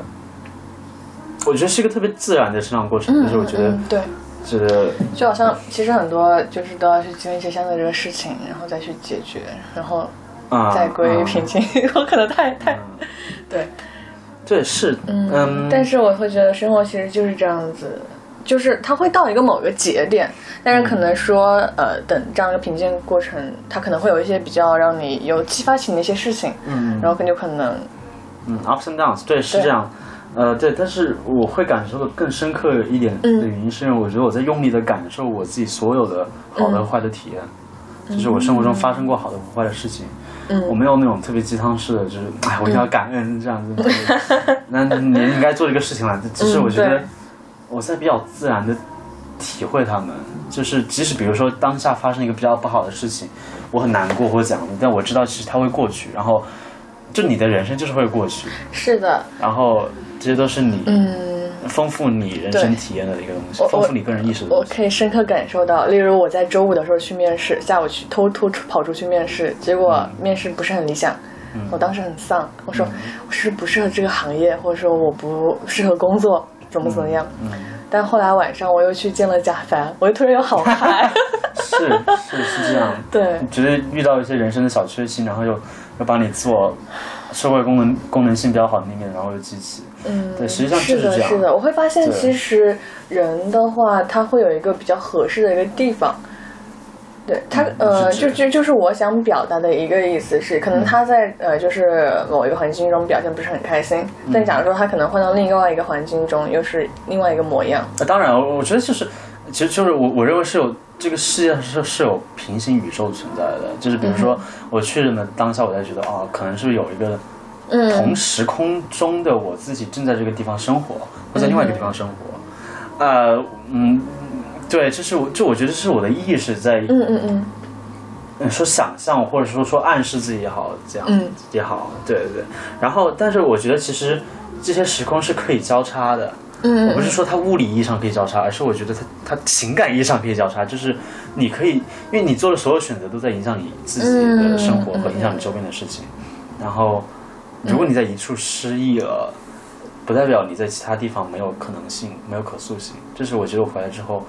[SPEAKER 2] 我觉得是一个特别自然的成长过程，就是我觉得、
[SPEAKER 1] 嗯对，
[SPEAKER 2] 觉得
[SPEAKER 1] 就好像其实很多就是都要去经历这相对这个事情，然后再去解决，然后
[SPEAKER 2] 啊，
[SPEAKER 1] 再归于
[SPEAKER 2] 嗯
[SPEAKER 1] 平静。 我可能太太对，
[SPEAKER 2] 对是嗯，
[SPEAKER 1] 但是我会觉得生活其实就是这样子，就是它会到一个某个节点，但是可能说、
[SPEAKER 2] 嗯
[SPEAKER 1] 呃，等这样一个平静过程，它可能会有一些比较让你有激发起你的一些事情，
[SPEAKER 2] 嗯
[SPEAKER 1] 然后可能就可能
[SPEAKER 2] 嗯，ups and downs，对，是
[SPEAKER 1] 对
[SPEAKER 2] 这样。呃，对，但是我会感受的更深刻一点的
[SPEAKER 1] 嗯
[SPEAKER 2] 原因，是因为我觉得我在用力的感受我自己所有的好
[SPEAKER 1] 嗯
[SPEAKER 2] 的、坏的体验，就是我生活中发生过好的和坏的事情。
[SPEAKER 1] 嗯
[SPEAKER 2] 我没有那种特别鸡汤式的，就是哎，我一定要感恩这样子。 那你应该做这个事情了，只是
[SPEAKER 1] 嗯
[SPEAKER 2] 我觉得
[SPEAKER 1] 对
[SPEAKER 2] 我在比较自然的体会他们，就是即使比如说当下发生一个比较不好的事情，我很难过或者怎样，但我知道其实它会过去，然后就你的人生就是会过去。
[SPEAKER 1] 是的，
[SPEAKER 2] 然后这些都是你、
[SPEAKER 1] 嗯。
[SPEAKER 2] 丰富你人生体验的一个东西
[SPEAKER 1] 我，
[SPEAKER 2] 丰富你个人意识的
[SPEAKER 1] 我
[SPEAKER 2] 东西。
[SPEAKER 1] 可以深刻感受到，例如我在周五的时候去面试，下午去偷偷出跑出去面试，结果面试不是很理想，我当时很丧，我说、我是不适合这个行业，或者说我不适合工作，怎么怎么样。但后来晚上我又去见了贾凡，我就突然又好嗨，
[SPEAKER 2] 是是是这样，
[SPEAKER 1] 对
[SPEAKER 2] 你觉得遇到一些人生的小确幸，然后又又把你自我社会功能功能性比较好的那面，然后又激起。
[SPEAKER 1] 嗯，
[SPEAKER 2] 对实际上就是
[SPEAKER 1] 的，
[SPEAKER 2] 这样
[SPEAKER 1] 是的，我会发现
[SPEAKER 2] 对
[SPEAKER 1] 其实人的话，他会有一个比较合适的一个地方，对他
[SPEAKER 2] 嗯
[SPEAKER 1] 呃，就就就是我想表达的一个意思是，可能他在呃，就是某一个环境中表现不是很开心，
[SPEAKER 2] 嗯
[SPEAKER 1] 但假如说他可能换到另外一个环境中，又是另外一个模样。
[SPEAKER 2] 呃当然，我我觉得就是，其实就是我我认为是有这个世界上是是有平行宇宙存在的，就是比如说
[SPEAKER 1] 嗯
[SPEAKER 2] 我去了呢，当下我才觉得啊，可能是不是有一个同时空中的我自己正在这个地方生活，或在另外一个地方生活，呃，嗯，对，这是我就我觉得是我的意识在
[SPEAKER 1] 嗯嗯嗯，
[SPEAKER 2] 嗯说想象或者说说暗示自己也好，这样
[SPEAKER 1] 嗯
[SPEAKER 2] 也好，对对对。然后，但是我觉得其实这些时空是可以交叉的。嗯，我不是说它物理意义上可以交叉，而是我觉得它它情感意义上可以交叉，就是你可以，因为你做的所有选择都在影响你自己的生活
[SPEAKER 1] 嗯嗯
[SPEAKER 2] 和影响你周边的事情。然后，如果你在一处失忆了，不代表你在其他地方没有可能性，没有可塑性。这是我觉得我回来之后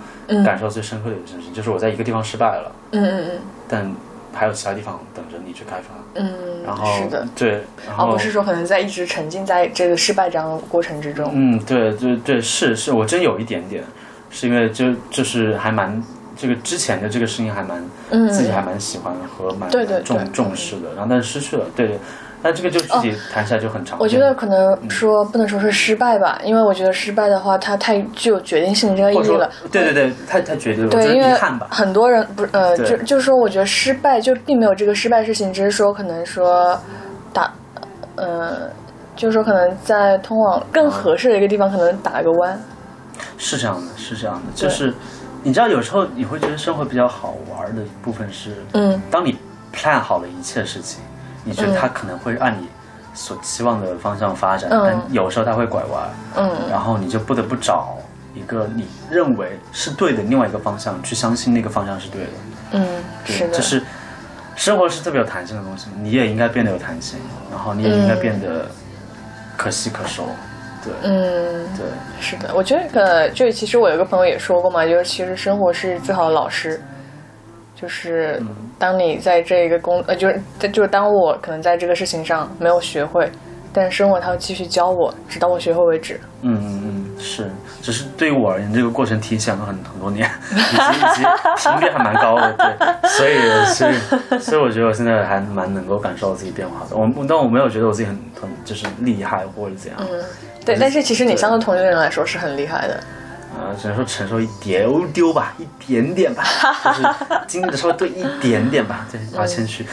[SPEAKER 2] 感受最深刻的一件事情，就是我在一个地方失败了。
[SPEAKER 1] 嗯嗯嗯
[SPEAKER 2] 但还有其他地方等着你去开发。
[SPEAKER 1] 嗯，
[SPEAKER 2] 然后
[SPEAKER 1] 是的，
[SPEAKER 2] 对，然
[SPEAKER 1] 而
[SPEAKER 2] 后、
[SPEAKER 1] 不是说可能在一直沉浸在这个失败这样的过程之中。
[SPEAKER 2] 嗯，对对对，是是，我真有一点点，是因为就就是还蛮这个之前的这个事情还蛮、
[SPEAKER 1] 嗯，
[SPEAKER 2] 自己还蛮喜欢和蛮
[SPEAKER 1] 对对
[SPEAKER 2] 重
[SPEAKER 1] 对哦
[SPEAKER 2] 重视的，然后但是失去了，对对，但这个就具体谈起来就很长、
[SPEAKER 1] 我觉得可能说不能说是失败吧，因为我觉得失败的话，它太具有决定性这个意
[SPEAKER 2] 嗯或者
[SPEAKER 1] 义
[SPEAKER 2] 说
[SPEAKER 1] 了。
[SPEAKER 2] 对对对，太太绝对了，我
[SPEAKER 1] 对，
[SPEAKER 2] 觉得
[SPEAKER 1] 因
[SPEAKER 2] 遗
[SPEAKER 1] 为
[SPEAKER 2] 憾吧。
[SPEAKER 1] 很多人不是呃，
[SPEAKER 2] 对
[SPEAKER 1] 就就是说，我觉得失败就并没有这个失败事情，只是说可能说打呃，就是说可能在通往
[SPEAKER 2] 嗯
[SPEAKER 1] 更合适的一个地方，可能打了个弯。
[SPEAKER 2] 是这样的，是这样的，
[SPEAKER 1] 对
[SPEAKER 2] 就是你知道，有时候你会觉得生活比较好玩的部分是，
[SPEAKER 1] 嗯，
[SPEAKER 2] 当你 plan 好了一切事情，你觉得它可能会按你所期望的方向发展，
[SPEAKER 1] 嗯
[SPEAKER 2] 但有时候它会拐弯，
[SPEAKER 1] 嗯
[SPEAKER 2] 然后你就不得不找一个你认为是对的另外一个方向，去相信那个方向是对的。
[SPEAKER 1] 嗯，
[SPEAKER 2] 对
[SPEAKER 1] 是的，
[SPEAKER 2] 就是生活是特别有弹性的东西，你也应该变得有弹性，然后你也应该变得可喜可收。对，
[SPEAKER 1] 嗯，
[SPEAKER 2] 对，
[SPEAKER 1] 是的。我觉得呃，就其实我有个朋友也说过嘛，就是其实生活是最好的老师。就是当你在这个工呃，就是就是当我可能在这个事情上没有学会，但生活它会继续教我，直到我学会为止。
[SPEAKER 2] 嗯嗯嗯，是，只是对于我而言，这个过程提前了很很多年， 以及以及频率还蛮高的，对，所以所以所以我觉得我现在还蛮能够感受到自己变化的。我但我没有觉得我自己很很就是厉害或者怎样，
[SPEAKER 1] 对，但是其实你相对同龄人来说是很厉害的。
[SPEAKER 2] 呃，只能说承受一丢丢吧，一点点吧，就是经历的稍微多一点点吧，对，不要谦虚。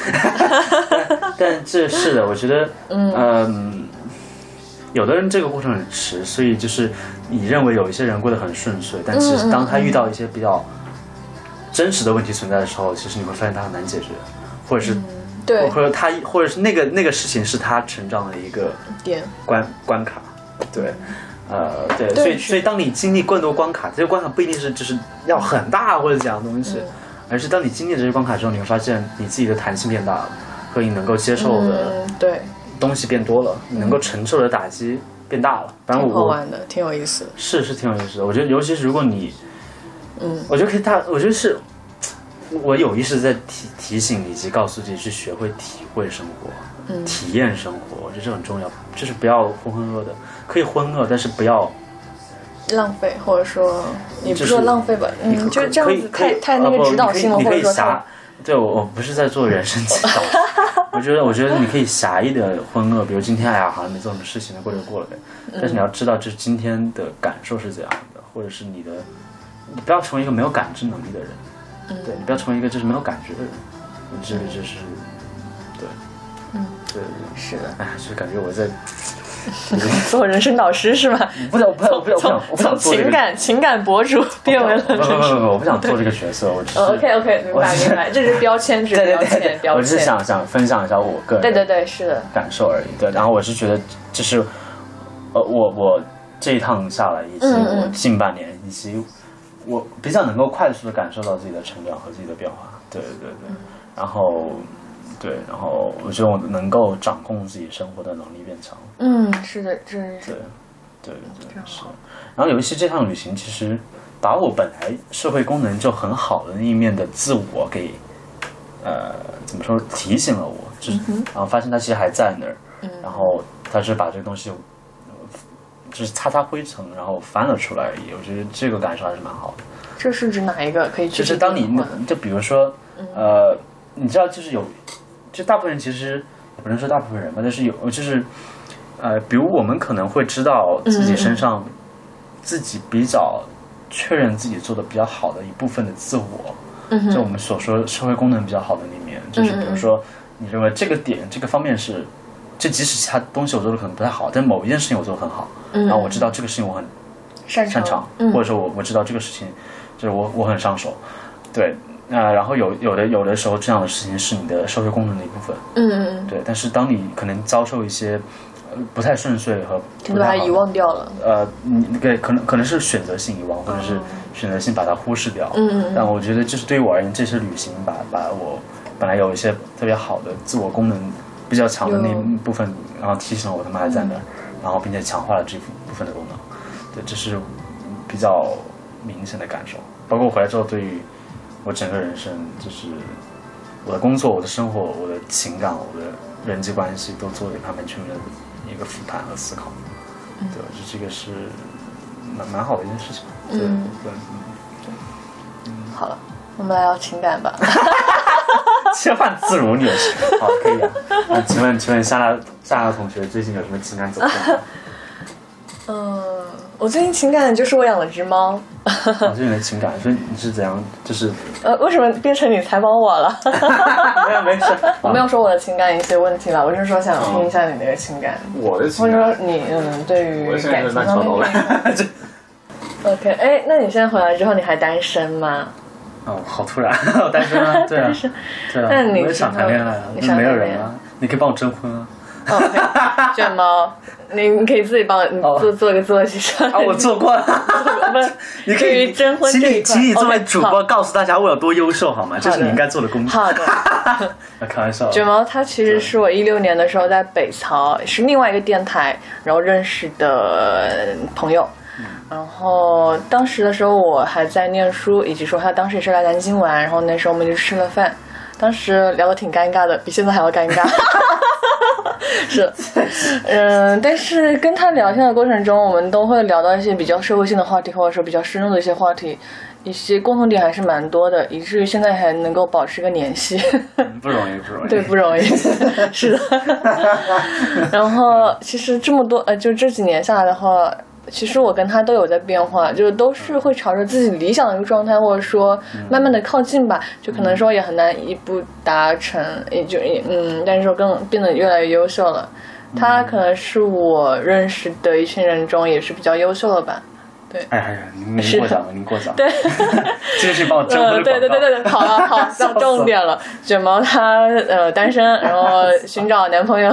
[SPEAKER 2] 但但这是的，我觉得，嗯、有的人这个过程很迟，所以就是你认为有一些人过得很顺遂，但其实当他遇到一些比较真实的问题存在的时候，其实你会发现他很难解决，或者是、
[SPEAKER 1] 对
[SPEAKER 2] 或者他或者是那个那个事情是他成长的一个
[SPEAKER 1] 点，
[SPEAKER 2] 关关卡，对，呃，对，所以
[SPEAKER 1] 是
[SPEAKER 2] 所以当你经历更多关卡，这些关卡不一定是就是要很大或者怎样的东西，
[SPEAKER 1] 嗯
[SPEAKER 2] 而是当你经历这些关卡之后，你会发现你自己的弹性变大了，和你能够接受的
[SPEAKER 1] 嗯，对，
[SPEAKER 2] 东西变多了，你能够承受的打击变大了。反正
[SPEAKER 1] 挺好
[SPEAKER 2] 我我
[SPEAKER 1] 玩的，挺有意思的。
[SPEAKER 2] 是是挺有意思的，我觉得尤其是如果你，
[SPEAKER 1] 嗯，
[SPEAKER 2] 我觉得可以大，我觉得是。我有意识在提提醒以及告诉自己去学会体会生活，
[SPEAKER 1] 嗯
[SPEAKER 2] 体验生活，我觉得这很重要，就是不要浑浑噩噩的，可以浑噩，但是不要
[SPEAKER 1] 浪费，或者说也不
[SPEAKER 2] 就是
[SPEAKER 1] 是说浪费吧，嗯，就是这样子太太
[SPEAKER 2] 啊
[SPEAKER 1] 那个指导性了，或者说太，
[SPEAKER 2] 对我我不是在做人生 指导，我觉得我觉得你可以狭义的浑噩，比如今天哎呀好像没做什么事情，那过就过了呗。
[SPEAKER 1] 嗯
[SPEAKER 2] 但是你要知道，就是今天的感受是怎样的，或者是你的，你不要成为一个没有感知能力的人，
[SPEAKER 1] 嗯
[SPEAKER 2] 对你不要成为一个就是没有感觉的人，你这个就是，对，
[SPEAKER 1] 嗯，
[SPEAKER 2] 对对，
[SPEAKER 1] 是的，
[SPEAKER 2] 哎，就是感觉我在，
[SPEAKER 1] 做人生导师是吗？
[SPEAKER 2] 不想我不想我不想我
[SPEAKER 1] 从
[SPEAKER 2] 不想我不
[SPEAKER 1] 从
[SPEAKER 2] 想做这
[SPEAKER 1] 情
[SPEAKER 2] 个，
[SPEAKER 1] 感情感博主变为了
[SPEAKER 2] 不不
[SPEAKER 1] 人生。
[SPEAKER 2] 不不，我不想做这个角色，我只是
[SPEAKER 1] OK OK，明
[SPEAKER 2] 我
[SPEAKER 1] 白
[SPEAKER 2] 只是
[SPEAKER 1] 明白，这是标签， 这是标签，标
[SPEAKER 2] 我只是
[SPEAKER 1] 签。
[SPEAKER 2] 想想分享一下我个人
[SPEAKER 1] 对对对，是的，
[SPEAKER 2] 感受而已。对，然后我是觉得，就是呃，我我这一趟下来，以及
[SPEAKER 1] 嗯嗯
[SPEAKER 2] 我近半年，以及我比较能够快速的感受到自己的成长和自己的变化。对对对
[SPEAKER 1] 嗯
[SPEAKER 2] 对，然后对，然后我觉得我能够掌控自己生活的能力变强。
[SPEAKER 1] 嗯，是的，这
[SPEAKER 2] 对
[SPEAKER 1] 是
[SPEAKER 2] 对对对，是。然后尤其这趟旅行，其实把我本来社会功能就很好的那一面的自我给，呃，怎么说提醒了我，就是、然后发现它其实还在那儿，然后它是把这个东西，呃就是擦擦灰尘，然后翻了出来而已。我觉得这个感受还是蛮好的。
[SPEAKER 1] 这是指哪一个？可以具
[SPEAKER 2] 就
[SPEAKER 1] 体
[SPEAKER 2] 是当你
[SPEAKER 1] 定义吗
[SPEAKER 2] 就比如说，呃，你知道就是有，就大部分人其实也不能说大部分人吧，但是有就是呃，比如我们可能会知道自己身上自己比较确认自己做的比较好的一部分的自我，
[SPEAKER 1] 嗯
[SPEAKER 2] 就我们所说社会功能比较好的那面，就是比如说你认为这个点这个方面是，就即使其他东西我做的可能不太好，但某一件事情我做的很好，然后我知道这个事情我很
[SPEAKER 1] 嗯擅嗯
[SPEAKER 2] 擅长，或者说我我知道这个事情，就是我我很上手，对，呃，然后有有的有的时候这样的事情是你的社会功能的一部分，
[SPEAKER 1] 嗯嗯嗯，
[SPEAKER 2] 对，但是当你可能遭受一些呃不太顺遂和
[SPEAKER 1] 你
[SPEAKER 2] 不
[SPEAKER 1] 把它
[SPEAKER 2] 太好
[SPEAKER 1] 遗
[SPEAKER 2] 的
[SPEAKER 1] 忘掉了。
[SPEAKER 2] 呃，你对，可能可能是选择性遗忘，或者是选择性把它忽视掉。
[SPEAKER 1] 嗯嗯嗯
[SPEAKER 2] 但我觉得，就是对于我而言，这是旅行把把我本来有一些特别好的自我功能比较强的那
[SPEAKER 1] 有嗯
[SPEAKER 2] 部分，然后提醒了我他妈还在那儿，然后并且强化了这部部分的功能。对，这是比较明显的感受。包括我回来之后，对于我整个人生，就是我的工作、我的生活、我的情感、我的人际关系，都做了一个完全的一个复盘和思考。
[SPEAKER 1] 嗯
[SPEAKER 2] 对，我觉得这个是蛮蛮好的一件事情。对、
[SPEAKER 1] 嗯
[SPEAKER 2] 对，
[SPEAKER 1] 好了，我们来聊情感吧。
[SPEAKER 2] 切换自如你也是，好可以啊。那请问请问夏娜夏娜同学最近有什么情感走向吗？
[SPEAKER 1] 嗯，我最近情感就是我养了只猫。
[SPEAKER 2] 啊就是你的情感，所以你是怎样？就是啊
[SPEAKER 1] 呃，为什么变成你采访我了？
[SPEAKER 2] 没有没事，
[SPEAKER 1] 我没有说我的情感一些问题吧，我是说想听一下你的情感，
[SPEAKER 3] 我的
[SPEAKER 1] 或者
[SPEAKER 3] 情
[SPEAKER 1] 说
[SPEAKER 3] 感，
[SPEAKER 1] 你嗯对于
[SPEAKER 3] 我的情
[SPEAKER 1] 感
[SPEAKER 3] 感
[SPEAKER 1] 情
[SPEAKER 3] 是乱七
[SPEAKER 1] 方
[SPEAKER 3] 八
[SPEAKER 1] 面
[SPEAKER 3] 糟
[SPEAKER 1] 的
[SPEAKER 3] 的。
[SPEAKER 2] 这
[SPEAKER 1] OK，哎，那你现在回来之后，你还单身 吗？
[SPEAKER 2] 哦，好突然，我单身啊，对啊，对啊，
[SPEAKER 1] 那你
[SPEAKER 2] 我也想谈恋爱啊，
[SPEAKER 1] 你
[SPEAKER 2] 那
[SPEAKER 1] 想
[SPEAKER 2] 没有
[SPEAKER 1] 谈
[SPEAKER 2] 人
[SPEAKER 1] 恋
[SPEAKER 2] 啊，你可以帮我征婚啊。
[SPEAKER 1] 哦，对卷毛，你你可以自己帮我你
[SPEAKER 2] 哦
[SPEAKER 1] 做做个做一下。
[SPEAKER 2] 啊，我做过了。
[SPEAKER 1] 不是，
[SPEAKER 2] 你可
[SPEAKER 1] 对
[SPEAKER 2] 以
[SPEAKER 1] 于征婚
[SPEAKER 2] 请
[SPEAKER 1] 这
[SPEAKER 2] 你
[SPEAKER 1] 一块
[SPEAKER 2] 请你作为
[SPEAKER 1] OK，
[SPEAKER 2] 主
[SPEAKER 1] 好
[SPEAKER 2] 播告诉大家我有多优秀好吗？这是你应该做的工作。
[SPEAKER 1] 好的，
[SPEAKER 2] 啊开玩笑，
[SPEAKER 1] 卷毛他其实是我一六年的时候在北曹，是另外一个电台，然后认识的朋友。然后当时的时候我还在念书，以及说他当时也是来南京玩，然后那时候我们就吃了饭，当时聊的挺尴尬的，比现在还要尴尬。 是，嗯，但是跟他聊天的过程中，我们都会聊到一些比较社会性的话题，或者说比较深入的一些话题，一些共同点还是蛮多的，以至于现在还能够保持个联系。
[SPEAKER 2] 不容易，不容易。
[SPEAKER 1] 对，不容易， 是 的。然后其实这么多呃，就这几年下来的话，其实我跟他都有在变化，就是都是会朝着自己理想的一个状态，或者说
[SPEAKER 2] 嗯
[SPEAKER 1] 慢慢的靠近吧。就可能说也很难一步达成，也就也嗯，但是说更变得越来越优秀了。
[SPEAKER 2] 嗯
[SPEAKER 1] 他可能是我认识的一群人中也是比较优秀的吧。
[SPEAKER 2] 哎哎呀，您您
[SPEAKER 1] 是
[SPEAKER 2] 过奖了，您过奖。对， 这个是帮我征婚
[SPEAKER 1] 呃，
[SPEAKER 2] 的
[SPEAKER 1] 对对对对对，好了 好，到重点了。卷毛他呃单身，然后寻找男朋 友，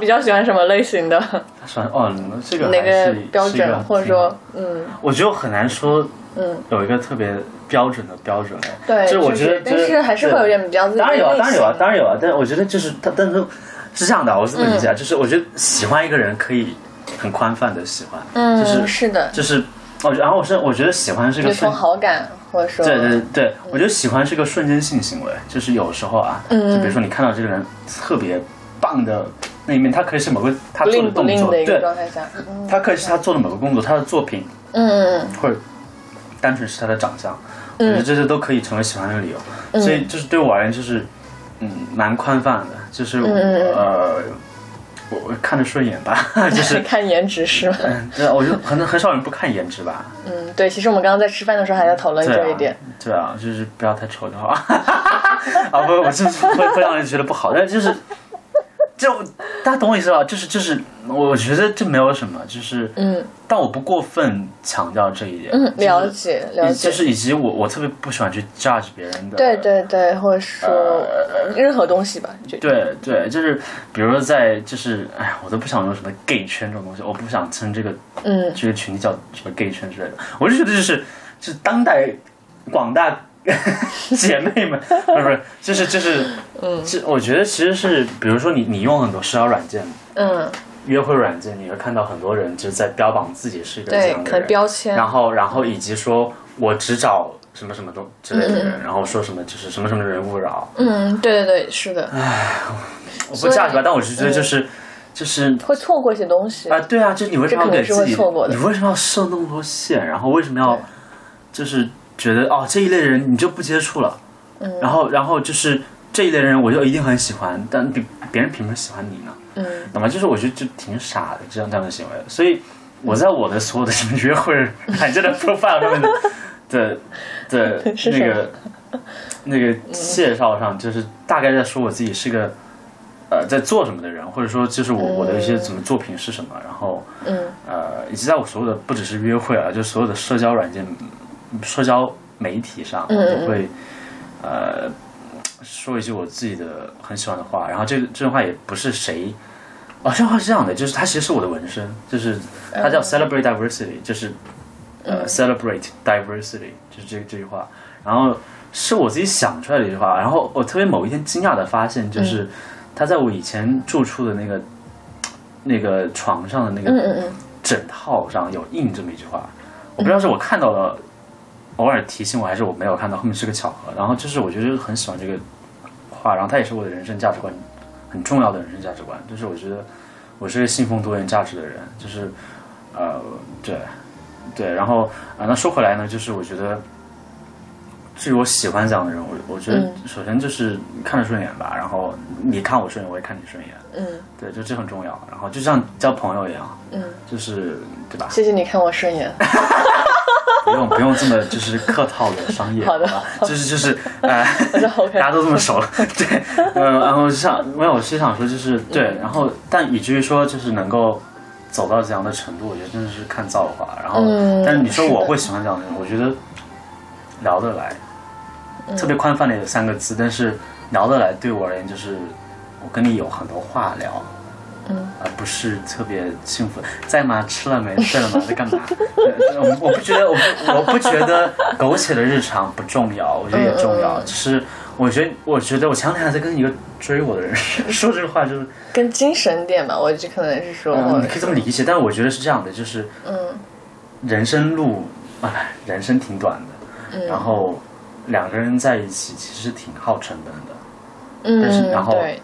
[SPEAKER 1] 比较喜欢什么类型的？
[SPEAKER 2] 他说哦，这个
[SPEAKER 1] 哪
[SPEAKER 2] 还是
[SPEAKER 1] 个标
[SPEAKER 2] 是一个
[SPEAKER 1] 准，或者说嗯
[SPEAKER 2] 我觉得我很难说
[SPEAKER 1] 嗯，
[SPEAKER 2] 有一个特别标准的标准。
[SPEAKER 1] 对，
[SPEAKER 2] 就是我
[SPEAKER 1] 就
[SPEAKER 2] 觉得
[SPEAKER 1] 是，但
[SPEAKER 2] 就是
[SPEAKER 1] 是还是会有点比较自己的
[SPEAKER 2] 当然有啊，
[SPEAKER 1] 类型
[SPEAKER 2] 当然有啊，当然有啊。但我觉得就是他，但是是这样的啊，我是
[SPEAKER 1] 嗯
[SPEAKER 2] 这么理解啊，就是我觉得喜欢一个人可以很宽泛的喜欢，
[SPEAKER 1] 嗯
[SPEAKER 2] 就是
[SPEAKER 1] 是的，
[SPEAKER 2] 就是哦，然后我是我觉得喜欢是个
[SPEAKER 1] 有
[SPEAKER 2] 瞬
[SPEAKER 1] 从好感或者说
[SPEAKER 2] 对对对，我觉得喜欢是个瞬间性行为，就是有时候啊，
[SPEAKER 1] 嗯
[SPEAKER 2] 就比如说你看到这个人特别棒的那一面，他可以是某个他
[SPEAKER 1] 不
[SPEAKER 2] 做
[SPEAKER 1] 吝
[SPEAKER 2] 的
[SPEAKER 1] 不
[SPEAKER 2] 动
[SPEAKER 1] 吝
[SPEAKER 2] 作，
[SPEAKER 1] 的一个
[SPEAKER 2] 对，
[SPEAKER 1] 状态下，嗯
[SPEAKER 2] 他可以是他做的某个工作，他的作品，
[SPEAKER 1] 嗯嗯
[SPEAKER 2] 或者单纯是他的长相，我觉得这些都可以成为喜欢的理由。
[SPEAKER 1] 嗯
[SPEAKER 2] 所以就是对我而言，就是嗯，蛮宽泛的，就是、
[SPEAKER 1] 嗯嗯
[SPEAKER 2] 呃，我我看着顺眼吧， 就
[SPEAKER 1] 嗯，
[SPEAKER 2] 是。
[SPEAKER 1] 看颜值是吗？
[SPEAKER 2] 嗯，对啊，我觉得很很少人不看颜值吧，
[SPEAKER 1] 嗯，对，其实我们刚刚在吃饭的时候还在讨论这一点，
[SPEAKER 2] 对啊，就是不要太丑就好。 啊，不，我就是会会让人觉得不好，但就是，就大家懂我意思吧？就是就是，我觉得这没有什么，就是，
[SPEAKER 1] 嗯，
[SPEAKER 2] 但我不过分强调这一点。
[SPEAKER 1] 嗯，了
[SPEAKER 2] 就是
[SPEAKER 1] 解了
[SPEAKER 2] 以
[SPEAKER 1] 解
[SPEAKER 2] 就。是以及我我特别不喜欢去 judge 别人的。
[SPEAKER 1] 对对对，或者说
[SPEAKER 2] 呃
[SPEAKER 1] 任何东西吧，就
[SPEAKER 2] 对对，就是比如说在就是，哎呀，我都不想用什么 gay 圈这种东西，我不想称这个
[SPEAKER 1] 嗯
[SPEAKER 2] 这个群体叫什么 gay 圈之类的。我就觉得就是就是当代 广大姐妹们，不是不是，就是就是，嗯，这我觉得其实是，比如说你你用很多社交软件、
[SPEAKER 1] 嗯，
[SPEAKER 2] 约会软件，你会看到很多人就是在标榜自己是一个怎
[SPEAKER 1] 对
[SPEAKER 2] 样，的
[SPEAKER 1] 可
[SPEAKER 2] 人
[SPEAKER 1] 能，标签，
[SPEAKER 2] 然后然后以及说我只找什么什么东之类的人，然后说什么就是什么什么人勿扰，
[SPEAKER 1] 嗯，对对对，是的，
[SPEAKER 2] 我不
[SPEAKER 1] 所以嗯
[SPEAKER 2] 价值吧，但我是觉得就是、就是
[SPEAKER 1] 会错过一些东西
[SPEAKER 2] 啊、。对啊，就是你为什么要
[SPEAKER 1] 这肯定
[SPEAKER 2] 给
[SPEAKER 1] 是
[SPEAKER 2] 自
[SPEAKER 1] 会
[SPEAKER 2] 己
[SPEAKER 1] 错过，的
[SPEAKER 2] 你为什么要设那么多线？然后为什么要
[SPEAKER 1] 对
[SPEAKER 2] 就是觉得哦这一类人你就不接触了？嗯，然后然后就是这一类人，我就一定很喜欢，但别别人凭什么喜欢你呢？
[SPEAKER 1] 嗯，
[SPEAKER 2] 懂吗？就是我觉得就挺傻的这样他们的行为，所以我在我的所有的什么约会软件的 profile 上面的的 的
[SPEAKER 1] 是
[SPEAKER 2] 那
[SPEAKER 1] 什
[SPEAKER 2] 个那个介绍上，就是大概在说我自己是个。呃，在做什么的人，或者说就是我我的一些怎么作品是什么，然后
[SPEAKER 1] 嗯
[SPEAKER 2] 呃，以及在我所有的不只是约会啊，就所有的社交软件、嗯社交媒体上，我
[SPEAKER 1] 嗯嗯
[SPEAKER 2] 就会呃说一句我自己的很喜欢的话，然后这个这段话也不是谁。哦，这段话是这样的，就是它其实是我的纹身，就是
[SPEAKER 1] 嗯
[SPEAKER 2] 它叫 celebrate diversity，就是呃 celebrate diversity，就是这这句话，然后是我自己想出来的一句话，然后我特别某一天惊讶的发现，就是
[SPEAKER 1] 嗯
[SPEAKER 2] 它在我以前住处的那个那个床上的那个
[SPEAKER 1] 嗯嗯嗯，
[SPEAKER 2] 枕套上有印这么一句话，我不知道是我看到了，偶尔提醒我，还是我没有看到，后面是个巧合。然后就是我觉得很喜欢这个话，然后它也是我的人生价值观很重要的人生价值观，就是我觉得我是个信奉多元价值的人，就是呃对对，然后啊、那说回来呢，就是我觉得。至于我喜欢这样的人，我我觉得
[SPEAKER 1] 嗯
[SPEAKER 2] 首先就是看着顺眼吧，然后你看我顺眼，我也看你顺眼，
[SPEAKER 1] 嗯
[SPEAKER 2] 对，就这很重要。然后就像交朋友一样，
[SPEAKER 1] 嗯，
[SPEAKER 2] 就是对吧？
[SPEAKER 1] 谢谢你看我顺眼。
[SPEAKER 2] 不用不用这么就是客套的商业，
[SPEAKER 1] 好的
[SPEAKER 2] 吧？就是就是呃，
[SPEAKER 1] 我说 OK，
[SPEAKER 2] 大家都这么熟了，对，呃，然后想没有，我是想说就是对，然后但以至于说就是能够走到这样的程度，我觉得真的是看造化。然后，
[SPEAKER 1] 嗯
[SPEAKER 2] 但是你说
[SPEAKER 1] 是的
[SPEAKER 2] 我会喜欢这样的人，我觉得聊得来，
[SPEAKER 1] 嗯
[SPEAKER 2] 特别宽泛的有三个字，但是聊得来对我而言就是我跟你有很多话聊。
[SPEAKER 1] 嗯，
[SPEAKER 2] 而不是特别幸福，在吗？吃了没？睡了吗？在干嘛？ 呃我我不觉得，我不我不觉得苟且的日常不重要，我觉得也重要。
[SPEAKER 1] 嗯嗯嗯
[SPEAKER 2] 只是我觉得，我觉得我前两天还在跟一个追我的人 说这个话，就是、
[SPEAKER 1] 跟精神点嘛，我就可能是说，哦
[SPEAKER 2] 嗯、你可以这么理解，但是我觉得是这样的，就是
[SPEAKER 1] 嗯
[SPEAKER 2] 人生路啊，人生挺短
[SPEAKER 1] 嗯
[SPEAKER 2] 的，然后两个人在一起其实挺耗成本的。但是
[SPEAKER 1] 嗯，
[SPEAKER 2] 然后
[SPEAKER 1] 对，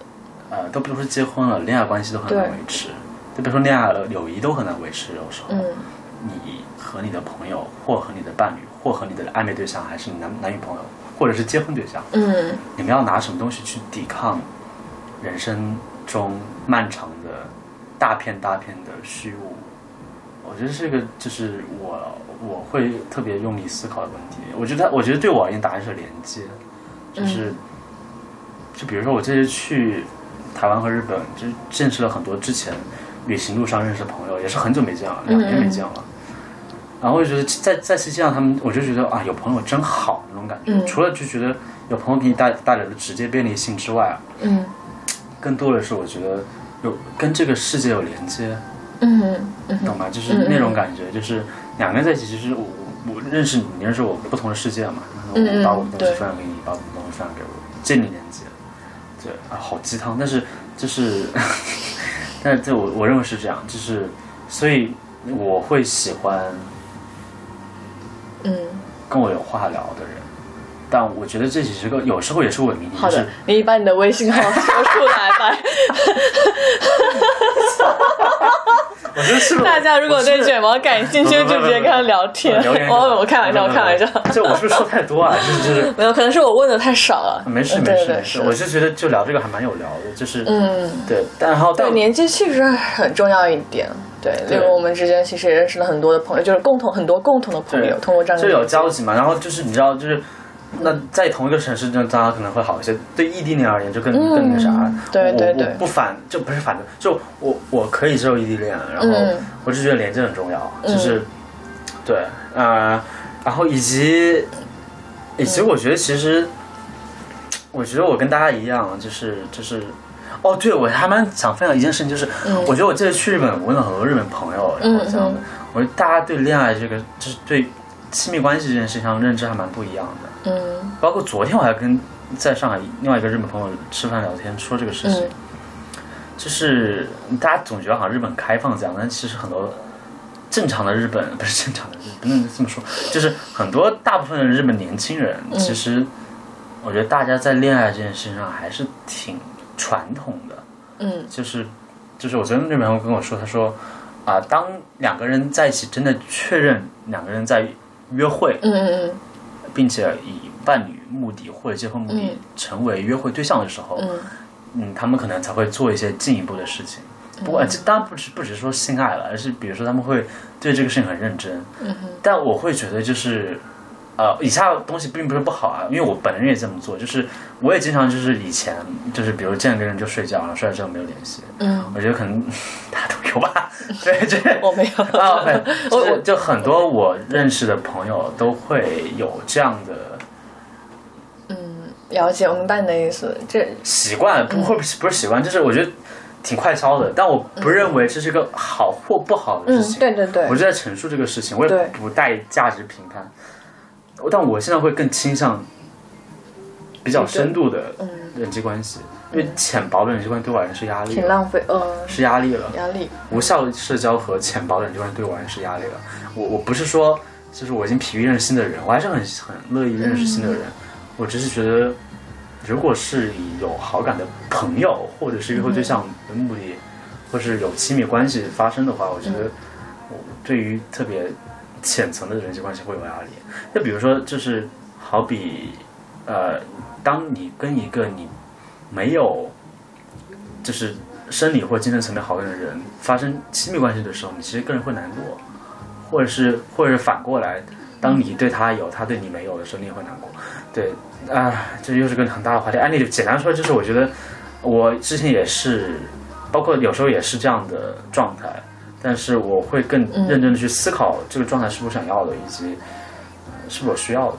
[SPEAKER 2] 呃，都不说结婚了，恋爱关系都很难
[SPEAKER 1] 对
[SPEAKER 2] 维持，就别说恋爱了，友谊都很难维持。有时候，
[SPEAKER 1] 嗯
[SPEAKER 2] 你和你的朋友，或和你的伴侣，或和你的暧昧对象，还是你男男女朋友，或者是结婚对象，
[SPEAKER 1] 嗯
[SPEAKER 2] 你们要拿什么东西去抵抗人生中漫长的大片大片的虚无？我觉得这个就是我我会特别用力思考的问题。我觉得它，我觉得对我而言，答案是连接，就是、就比如说我这次去台湾和日本，就见识了很多之前旅行路上认识的朋友，也是很久没见了，两年没见了。然后我就觉得在在实际上他们，我就觉得啊，有朋友真好那种感觉。
[SPEAKER 1] 嗯
[SPEAKER 2] 除了就觉得有朋友给你带带来的直接便利性之外，
[SPEAKER 1] 嗯
[SPEAKER 2] 更多的是我觉得有跟这个世界有连接，
[SPEAKER 1] 嗯嗯
[SPEAKER 2] 懂吗？就是那种感觉，就是两个人在一起，其实我我我认识你，你认识我，不同的世界嘛。
[SPEAKER 1] 嗯
[SPEAKER 2] 然后我把我的东
[SPEAKER 1] 对
[SPEAKER 2] 西分享给你，把我的东西分享给我，建立连接。对啊，好鸡汤，但是就是，但是对我我认为是这样，就是所以我会喜欢
[SPEAKER 1] 嗯，
[SPEAKER 2] 跟我有话聊的人，但我觉得这只是个有时候也是伪命题，
[SPEAKER 1] 好
[SPEAKER 2] 就是
[SPEAKER 1] 的，你把你的微信号 说出来吧。
[SPEAKER 2] 我觉得是
[SPEAKER 1] 大家如果对卷毛感兴趣，
[SPEAKER 2] 不不不
[SPEAKER 1] 就直接跟他聊 天。
[SPEAKER 2] 留言就好
[SPEAKER 1] 我我开玩笑，我开玩笑。，
[SPEAKER 2] 这我是不是说太 多啊？就是就是。
[SPEAKER 1] 没有，可能是我问的太少了。
[SPEAKER 2] 没
[SPEAKER 1] 嗯
[SPEAKER 2] 事没
[SPEAKER 1] 对
[SPEAKER 2] 事
[SPEAKER 1] 对
[SPEAKER 2] 没
[SPEAKER 1] 是
[SPEAKER 2] 事，我就觉得就聊这个还蛮有聊的，就是
[SPEAKER 1] 嗯，
[SPEAKER 2] 对，但然后但
[SPEAKER 1] 对，年纪确实很重要一点。对，例
[SPEAKER 2] 对
[SPEAKER 1] 如我们之间其实也认识了很多的朋友，就是共同很多共同的朋友，
[SPEAKER 2] 对
[SPEAKER 1] 通过这样的
[SPEAKER 2] 就有
[SPEAKER 1] 年纪
[SPEAKER 2] 交集嘛。然后就是你知道，就是那在同一个城市，就大家可能会好一些。对异地恋而言，就更、更那啥。
[SPEAKER 1] 嗯对对
[SPEAKER 2] 我
[SPEAKER 1] 对
[SPEAKER 2] 我不反就不是反正，就我我可以接受异地恋，然后
[SPEAKER 1] 嗯
[SPEAKER 2] 我就觉得连接很重要，就是、对呃，然后以及以
[SPEAKER 1] 嗯
[SPEAKER 2] 及我觉得其实，我觉得我跟大家一样，就是就是。哦，对，我还蛮想分享一件事情，就是、我觉得我这次去日本，我问了很多日本朋友，然后这样的，
[SPEAKER 1] 嗯
[SPEAKER 2] 我觉得大家对恋爱这个，就是对亲密关系这件事情上认知还蛮不一样的。
[SPEAKER 1] 嗯
[SPEAKER 2] 包括昨天我还跟在上海另外一个日本朋友吃饭聊天，说这个事情，
[SPEAKER 1] 嗯
[SPEAKER 2] 就是大家总觉得好像日本开放这样，但其实很多正常的日本不是正常的日本，不能 这么说，就是很多大部分的日本年轻人，
[SPEAKER 1] 嗯
[SPEAKER 2] 其实我觉得大家在恋爱这件事情上还是挺传统的，
[SPEAKER 1] 嗯
[SPEAKER 2] 就是就是我昨天那朋友跟我说，他说啊、当两个人在一起真的确认两个人在约会，
[SPEAKER 1] 嗯嗯
[SPEAKER 2] 并且以伴侣目的或者结婚目的
[SPEAKER 1] 嗯
[SPEAKER 2] 成为约会对象的时候，
[SPEAKER 1] 嗯
[SPEAKER 2] 嗯，他们可能才会做一些进一步的事情。不过，这当然不只不只是说性爱了，而是比如说他们会对这个事情很认真。
[SPEAKER 1] 嗯哼
[SPEAKER 2] 但我会觉得就是，呃，以下东西并不是不好啊，因为我本人也这么做，就是我也经常就是以前就是比如见个人就睡觉，然后睡了之后没有联系。
[SPEAKER 1] 嗯，
[SPEAKER 2] 我觉得可能 大家都有吧，对 对。
[SPEAKER 1] 我没有，
[SPEAKER 2] 啊，对，就
[SPEAKER 1] 我
[SPEAKER 2] 是
[SPEAKER 1] 我
[SPEAKER 2] 就很多我认识的朋友都会有这样的
[SPEAKER 1] 了解，我明白你的意思。这
[SPEAKER 2] 习
[SPEAKER 1] 嗯
[SPEAKER 2] 惯，不会不是不是习惯，就是我觉得挺快消的，但我不认为这是个好或不好的
[SPEAKER 1] 嗯
[SPEAKER 2] 事，情。
[SPEAKER 1] 对对对
[SPEAKER 2] 我，就在陈述这个事情，我也
[SPEAKER 1] 对
[SPEAKER 2] 不带价值评判。我但我现在会更倾向比较深度的
[SPEAKER 1] 嗯，
[SPEAKER 2] 人际关系，因为浅薄的人际关系对我来说是压力
[SPEAKER 1] 挺
[SPEAKER 2] 了，
[SPEAKER 1] 浪费，呃，
[SPEAKER 2] 是压力了。
[SPEAKER 1] 压力，
[SPEAKER 2] 无效社交和浅薄的人际关系对我来说是压力了。我我不是说就是我已经疲于认识新的人，我还是很很乐意认识新的人。我只是觉得，如果是以有好感的朋友或者是约会对象为目的，或是有亲密关系发生的话，我觉得我对于特别浅层的人际关系会有压力。就比如说，就是好比呃，当你跟一个你没有就是生理或精神层面好感的人发生亲密关系的时候，你其实个人会难过，或者是或者是反过来，当你对他有，他对你没有的时候，你也会难过。对，啊、这又是个很大的话题。案例就简单说，就是我觉得我之前也是，包括有时候也是这样的状态，但是我会更
[SPEAKER 1] 嗯
[SPEAKER 2] 认真的去思考这个状态是不是想要的，以及、呃是不是我需要的。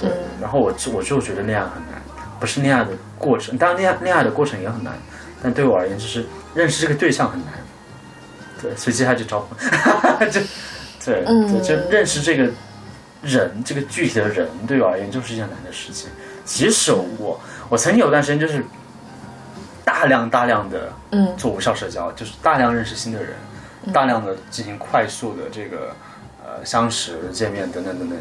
[SPEAKER 2] 对，
[SPEAKER 1] 嗯
[SPEAKER 2] 然后我就我就觉得恋爱很难，不是恋爱的过程，当然恋爱恋爱的过程也很难，但对我而言就是认识这个对象很难。对，所以接下来 就招婚，这对对，
[SPEAKER 1] 嗯
[SPEAKER 2] 就认识这个人，这个具体的人对我而言就是一件难的事情。即使我我曾经有段时间就是大量大量的
[SPEAKER 1] 嗯
[SPEAKER 2] 做无效社交，就是大量认识新的人，大量的进行快速的这个呃相识、见面等等等等，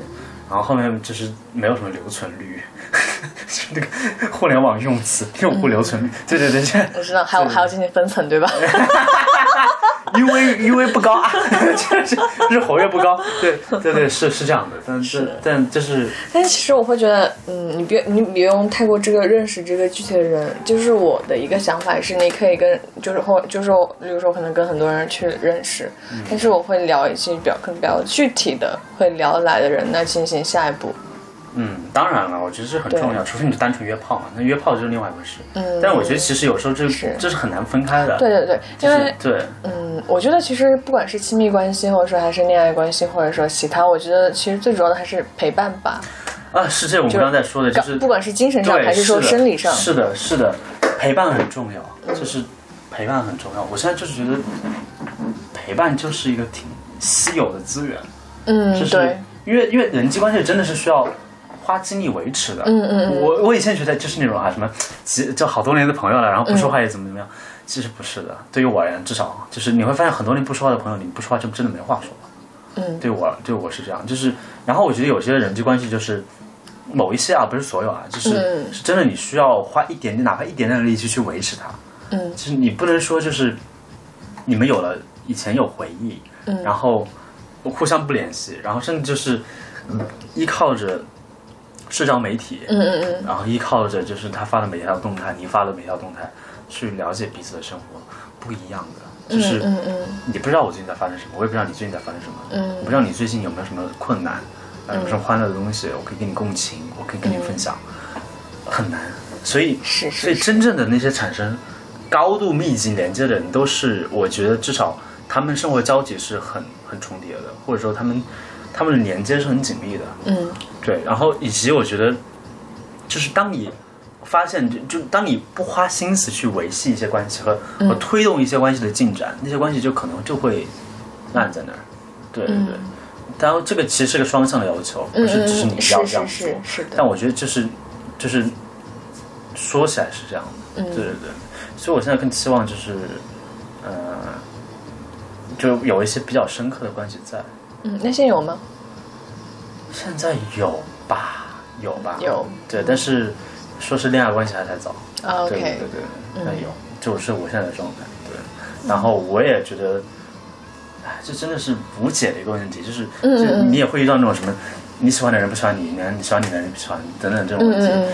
[SPEAKER 2] 然后后面就是没有什么留存率， 是那个互联网用词用户留存率，
[SPEAKER 1] 嗯
[SPEAKER 2] 对对对，这
[SPEAKER 1] 我知道，还有
[SPEAKER 2] 对
[SPEAKER 1] 还要进行分层，对吧？
[SPEAKER 2] 因为因为不高啊， 就是就是活跃不高，对对对，是是这样的，但是但就是
[SPEAKER 1] 但其实我会觉得，嗯，你别你不用太过这个认识这个具体的人，就是我的一个想法是，你可以跟就是或就是我，比如说我可能跟很多人去认识，但是我会聊一些比较更比较具体的会聊得来的人，那进行下一步。
[SPEAKER 2] 嗯，当然了，我觉得是很
[SPEAKER 1] 对
[SPEAKER 2] 重要，除非你是单纯约炮嘛，那约炮就是另外一回事。
[SPEAKER 1] 嗯
[SPEAKER 2] 但我觉得其实有时候这
[SPEAKER 1] 是
[SPEAKER 2] 这是很难分开的。
[SPEAKER 1] 对对对，
[SPEAKER 2] 就
[SPEAKER 1] 因为
[SPEAKER 2] 是对，
[SPEAKER 1] 嗯，我觉得其实不管是亲密关系，或者说还是恋爱关系，或者说其他，我觉得其实最主要的还是陪伴吧。
[SPEAKER 2] 啊，是这我们刚才说的，就是
[SPEAKER 1] 不管是精神上
[SPEAKER 2] 对，
[SPEAKER 1] 还是说
[SPEAKER 2] 的
[SPEAKER 1] 生理上，
[SPEAKER 2] 是的，是的，陪伴很重要，就是陪伴很重要。我现在就是觉得陪伴就是一个挺稀有的资源，
[SPEAKER 1] 嗯，
[SPEAKER 2] 就是
[SPEAKER 1] 对，
[SPEAKER 2] 因为因为人际关系真的是需要花精力维持的。
[SPEAKER 1] 嗯嗯嗯
[SPEAKER 2] 我我以前觉得就是那种啊什么，其就好多年的朋友了，然后
[SPEAKER 1] 嗯
[SPEAKER 2] 不说话也怎么怎么样，其实不是的。对于我而言，至少就是你会发现很多年不说话的朋友，你不说话就真的没话说了。
[SPEAKER 1] 嗯
[SPEAKER 2] 对我对我是这样，就是然后我觉得有些人际关系就是。某一些啊，不是所有啊，就是、
[SPEAKER 1] 嗯
[SPEAKER 2] 是真的，你需要花一点点，哪怕一点点的力气去维持它。
[SPEAKER 1] 嗯
[SPEAKER 2] 就是你不能说就是你们有了以前有回忆，
[SPEAKER 1] 嗯
[SPEAKER 2] 然后互相不联系，然后甚至就是依靠着社交媒体，
[SPEAKER 1] 嗯嗯嗯，
[SPEAKER 2] 然后依靠着就是他发的每一条动态，你发的每一条动态，去了解彼此的生活，不一样的，就是
[SPEAKER 1] 嗯嗯
[SPEAKER 2] 你不知道我最近在发生什么，我也不知道你最近在发生什么，
[SPEAKER 1] 嗯
[SPEAKER 2] 我不知道你最近有没有什么困难，呃，有没有什么欢乐的东西，我可以跟你共情，我可以跟你分享，很难，所以
[SPEAKER 1] 是是
[SPEAKER 2] 所以
[SPEAKER 1] 是
[SPEAKER 2] 真正的那些产生高度密集连接的人，都是我觉得至少他们生活交集是很很重叠的，或者说他们他们的连接是很紧密的，
[SPEAKER 1] 嗯
[SPEAKER 2] 对，然后以及我觉得，就是当你发现就就当你不花心思去维系一些关系和、
[SPEAKER 1] 嗯
[SPEAKER 2] 和推动一些关系的进展，那些关系就可能就会烂在那儿。对对对，当然这个其实是个双向的要求，不
[SPEAKER 1] 嗯
[SPEAKER 2] 是只是你
[SPEAKER 1] 嗯，是
[SPEAKER 2] 要这样
[SPEAKER 1] 是
[SPEAKER 2] 做。
[SPEAKER 1] 是是的，
[SPEAKER 2] 但我觉得就是就是说起来是这样
[SPEAKER 1] 嗯
[SPEAKER 2] 的，对对对，所以我现在更期望就是，呃，就有一些比较深刻的关系在。
[SPEAKER 1] 嗯，那些有吗？
[SPEAKER 2] 现在有吧，有吧，
[SPEAKER 1] 有，
[SPEAKER 2] 对，但是说是恋爱关系还太早。
[SPEAKER 1] 啊
[SPEAKER 2] 对对
[SPEAKER 1] ，OK，
[SPEAKER 2] 对对，那有，就是我现在的状态。对，然后我也觉得，哎，这真的是无解的一个问题，就是，
[SPEAKER 1] 嗯嗯
[SPEAKER 2] 就是
[SPEAKER 1] 嗯
[SPEAKER 2] 你也会遇到那种什么你喜欢的人不喜欢你，你你喜欢你的人不喜欢你等等这种问题。
[SPEAKER 1] 嗯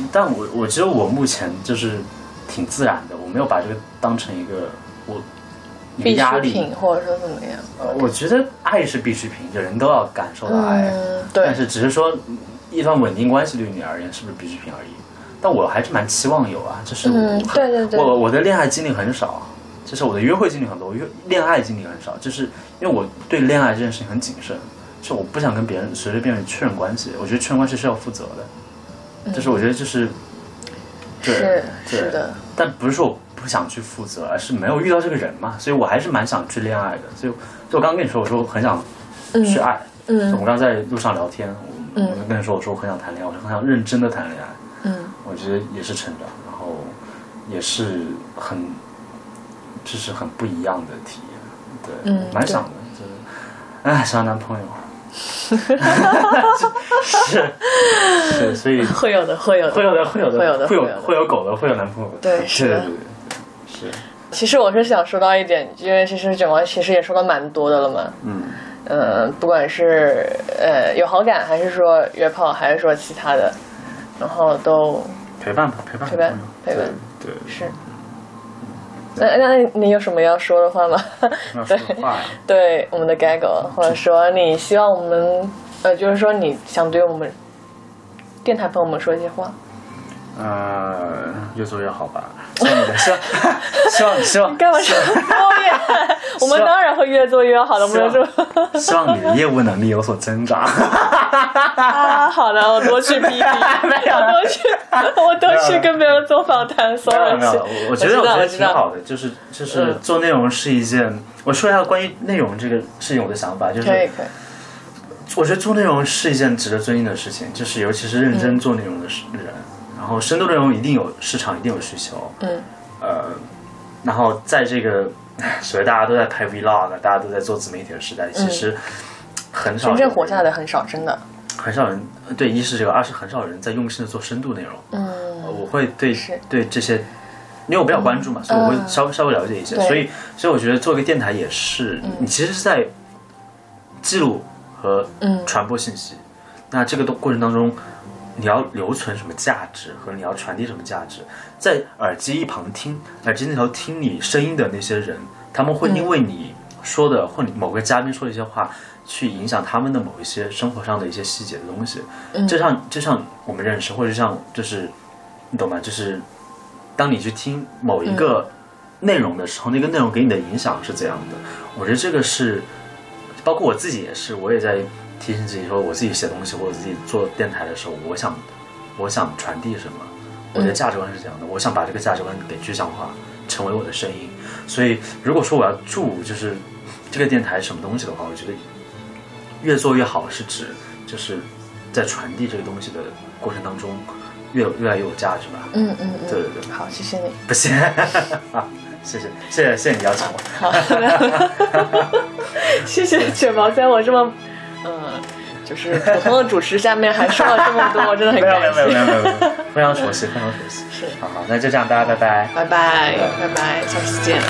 [SPEAKER 1] 嗯
[SPEAKER 2] 但我我觉得我目前就是挺自然的，我没有把这个当成一个我一个
[SPEAKER 1] 必
[SPEAKER 2] 压
[SPEAKER 1] 需
[SPEAKER 2] 力。
[SPEAKER 1] 品或者说怎么样？
[SPEAKER 2] 呃我觉得爱是必需品，就人都要感受到爱。
[SPEAKER 1] 嗯，
[SPEAKER 2] 但
[SPEAKER 1] 对，
[SPEAKER 2] 是只是说，一段稳定关系对于你而言是不是必需品而已。但我还是蛮期望有啊，就是我、
[SPEAKER 1] 嗯，对对对，
[SPEAKER 2] 我我的恋爱经历很少，就是我的约会经历很多，我约恋爱经历很少，就是因为我对恋爱这件事情很谨慎，就我不想跟别人随随便便确认关系，我觉得确认关系是要负责的，就是我觉得就是，
[SPEAKER 1] 嗯
[SPEAKER 2] 对
[SPEAKER 1] 是
[SPEAKER 2] 对
[SPEAKER 1] 是的，
[SPEAKER 2] 但不是说我不想去负责，而是没有遇到这个人嘛，所以我还是蛮想去恋爱的，所以就我刚刚跟你说，我说我很想去爱。我
[SPEAKER 1] 嗯
[SPEAKER 2] 们刚在路上聊天，我我就跟你说，我说我很想谈恋爱，我很想认真的谈恋爱。
[SPEAKER 1] 嗯
[SPEAKER 2] 我觉得也是成长，然后也是很，就是很不一样的体验，对，
[SPEAKER 1] 嗯
[SPEAKER 2] 蛮想的，就是，哎，想要男 朋友，是是，所以
[SPEAKER 1] 会有的，会有的，
[SPEAKER 2] 会有的，会有的，
[SPEAKER 1] 会有的
[SPEAKER 2] 会
[SPEAKER 1] 会有的
[SPEAKER 2] 有会有狗的，会有男朋友的，
[SPEAKER 1] 对
[SPEAKER 2] 是
[SPEAKER 1] 是
[SPEAKER 2] 对
[SPEAKER 1] 的
[SPEAKER 2] 对对，是，
[SPEAKER 1] 其实我是想说到一点，因为其实卷毛其实也说的蛮多的了嘛。
[SPEAKER 2] 嗯，
[SPEAKER 1] 嗯，不管是呃有好感，还是说约炮，还是说其他的，然后都
[SPEAKER 2] 陪伴吧，陪伴，
[SPEAKER 1] 陪伴陪伴，
[SPEAKER 2] 对，对
[SPEAKER 1] 是。那那那你有什么要说的话吗？
[SPEAKER 2] 那说
[SPEAKER 1] 对
[SPEAKER 2] 的话呀。
[SPEAKER 1] 对我们的 gaggle，或者说你希望我们呃，就是说你想对我们电台朋友们说一些话。
[SPEAKER 2] 呃，越做越好吧。希望你的，希望 希望希望
[SPEAKER 1] 干嘛这么敷 衍？我们当然会越做越好的，我
[SPEAKER 2] 希
[SPEAKER 1] 们
[SPEAKER 2] 望
[SPEAKER 1] 就
[SPEAKER 2] 希望你的业务能力有所 增长。
[SPEAKER 1] 啊，好的，我多去 BB，
[SPEAKER 2] 没有
[SPEAKER 1] 我多去， 我多去跟别人做访谈
[SPEAKER 2] 没有
[SPEAKER 1] ，sorry，
[SPEAKER 2] 没有，我我觉
[SPEAKER 1] 知
[SPEAKER 2] 得我觉
[SPEAKER 1] 道，
[SPEAKER 2] 得
[SPEAKER 1] 哦我知
[SPEAKER 2] 挺
[SPEAKER 1] 道，
[SPEAKER 2] 好的，就是就是
[SPEAKER 1] 嗯
[SPEAKER 2] 做内容是一件。我说一下关于内容这个事情我的想法，就
[SPEAKER 1] 可以
[SPEAKER 2] 是
[SPEAKER 1] 可以，
[SPEAKER 2] 我觉得做内容是一件值得尊敬的事情，就是尤其是认真做内容的是人，然后深度内容一定有市场，一定有需求。
[SPEAKER 1] 嗯
[SPEAKER 2] 呃，然后在这个 所谓大家都在拍 vlog，大家啊都在做自媒体的时代，其实很少
[SPEAKER 1] 嗯真正活
[SPEAKER 2] 有人
[SPEAKER 1] 下来的很少，真的，
[SPEAKER 2] 很少人对一是这个，二是很少人在用心的做深度内容。
[SPEAKER 1] 嗯
[SPEAKER 2] 我会对
[SPEAKER 1] 是嗯
[SPEAKER 2] 对这些，因为我比较关注嘛，所以我会稍微稍微了解一些。
[SPEAKER 1] 对
[SPEAKER 2] 所以所以我觉得做一个电台也是，你其实是在记录和
[SPEAKER 1] 嗯
[SPEAKER 2] 传播信息。那这个都过程当中，你要留存什么价值和你要传递什么价值，在耳机一旁听，耳机那头听你声音的那些人，他们会因为你说的、或你某个嘉宾说的一些话，去影响他们的某一些生活上的一些细节的东西。就像就像我们认识，或者像就是你懂吗？就是当你去听某一个内容的时候，那个内容给你的影响是怎样的？我觉得这个是，包括我自己也是，我也在提醒自己说，我自己写东西或者自己做电台的时候，我想我想传递什么？我的价值观是怎样的？我想把这个价值观给具象化，成为我的声音。所以，如果说我要注就是这个电台什么东西的话，我觉得越做越好是指就是在传递这个东西的过程当中越有越来越有价值吧。
[SPEAKER 1] 嗯嗯
[SPEAKER 2] 对
[SPEAKER 1] 嗯，
[SPEAKER 2] 对对，
[SPEAKER 1] 好，谢谢你，
[SPEAKER 2] 不谢啊，谢谢谢谢谢谢你邀请我。
[SPEAKER 1] 好，谢谢卷毛，在我这么，嗯。就是普通的主持下面还说了这么多，我真的很
[SPEAKER 2] 没有没
[SPEAKER 1] 感
[SPEAKER 2] 有没有没
[SPEAKER 1] 谢。
[SPEAKER 2] 有没有，没有非常熟悉非常熟悉。
[SPEAKER 1] 是
[SPEAKER 2] 好好，那就这样，大家拜拜。
[SPEAKER 1] 拜拜拜拜，下次见。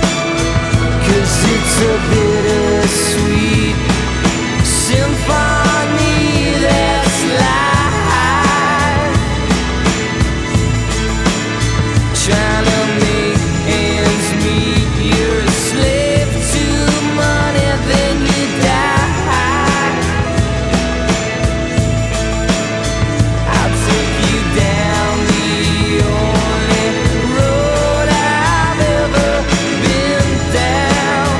[SPEAKER 3] Cause it's a bittersweet symphony that's life. Trying to make ends meet. You're a slave to money, then you die. I'll take you down the only road I've ever been down.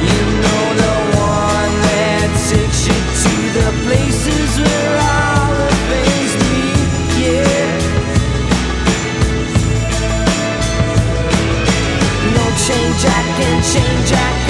[SPEAKER 3] You know the one that takes you to the places where all the things meet. Yeah. No change, I can change, I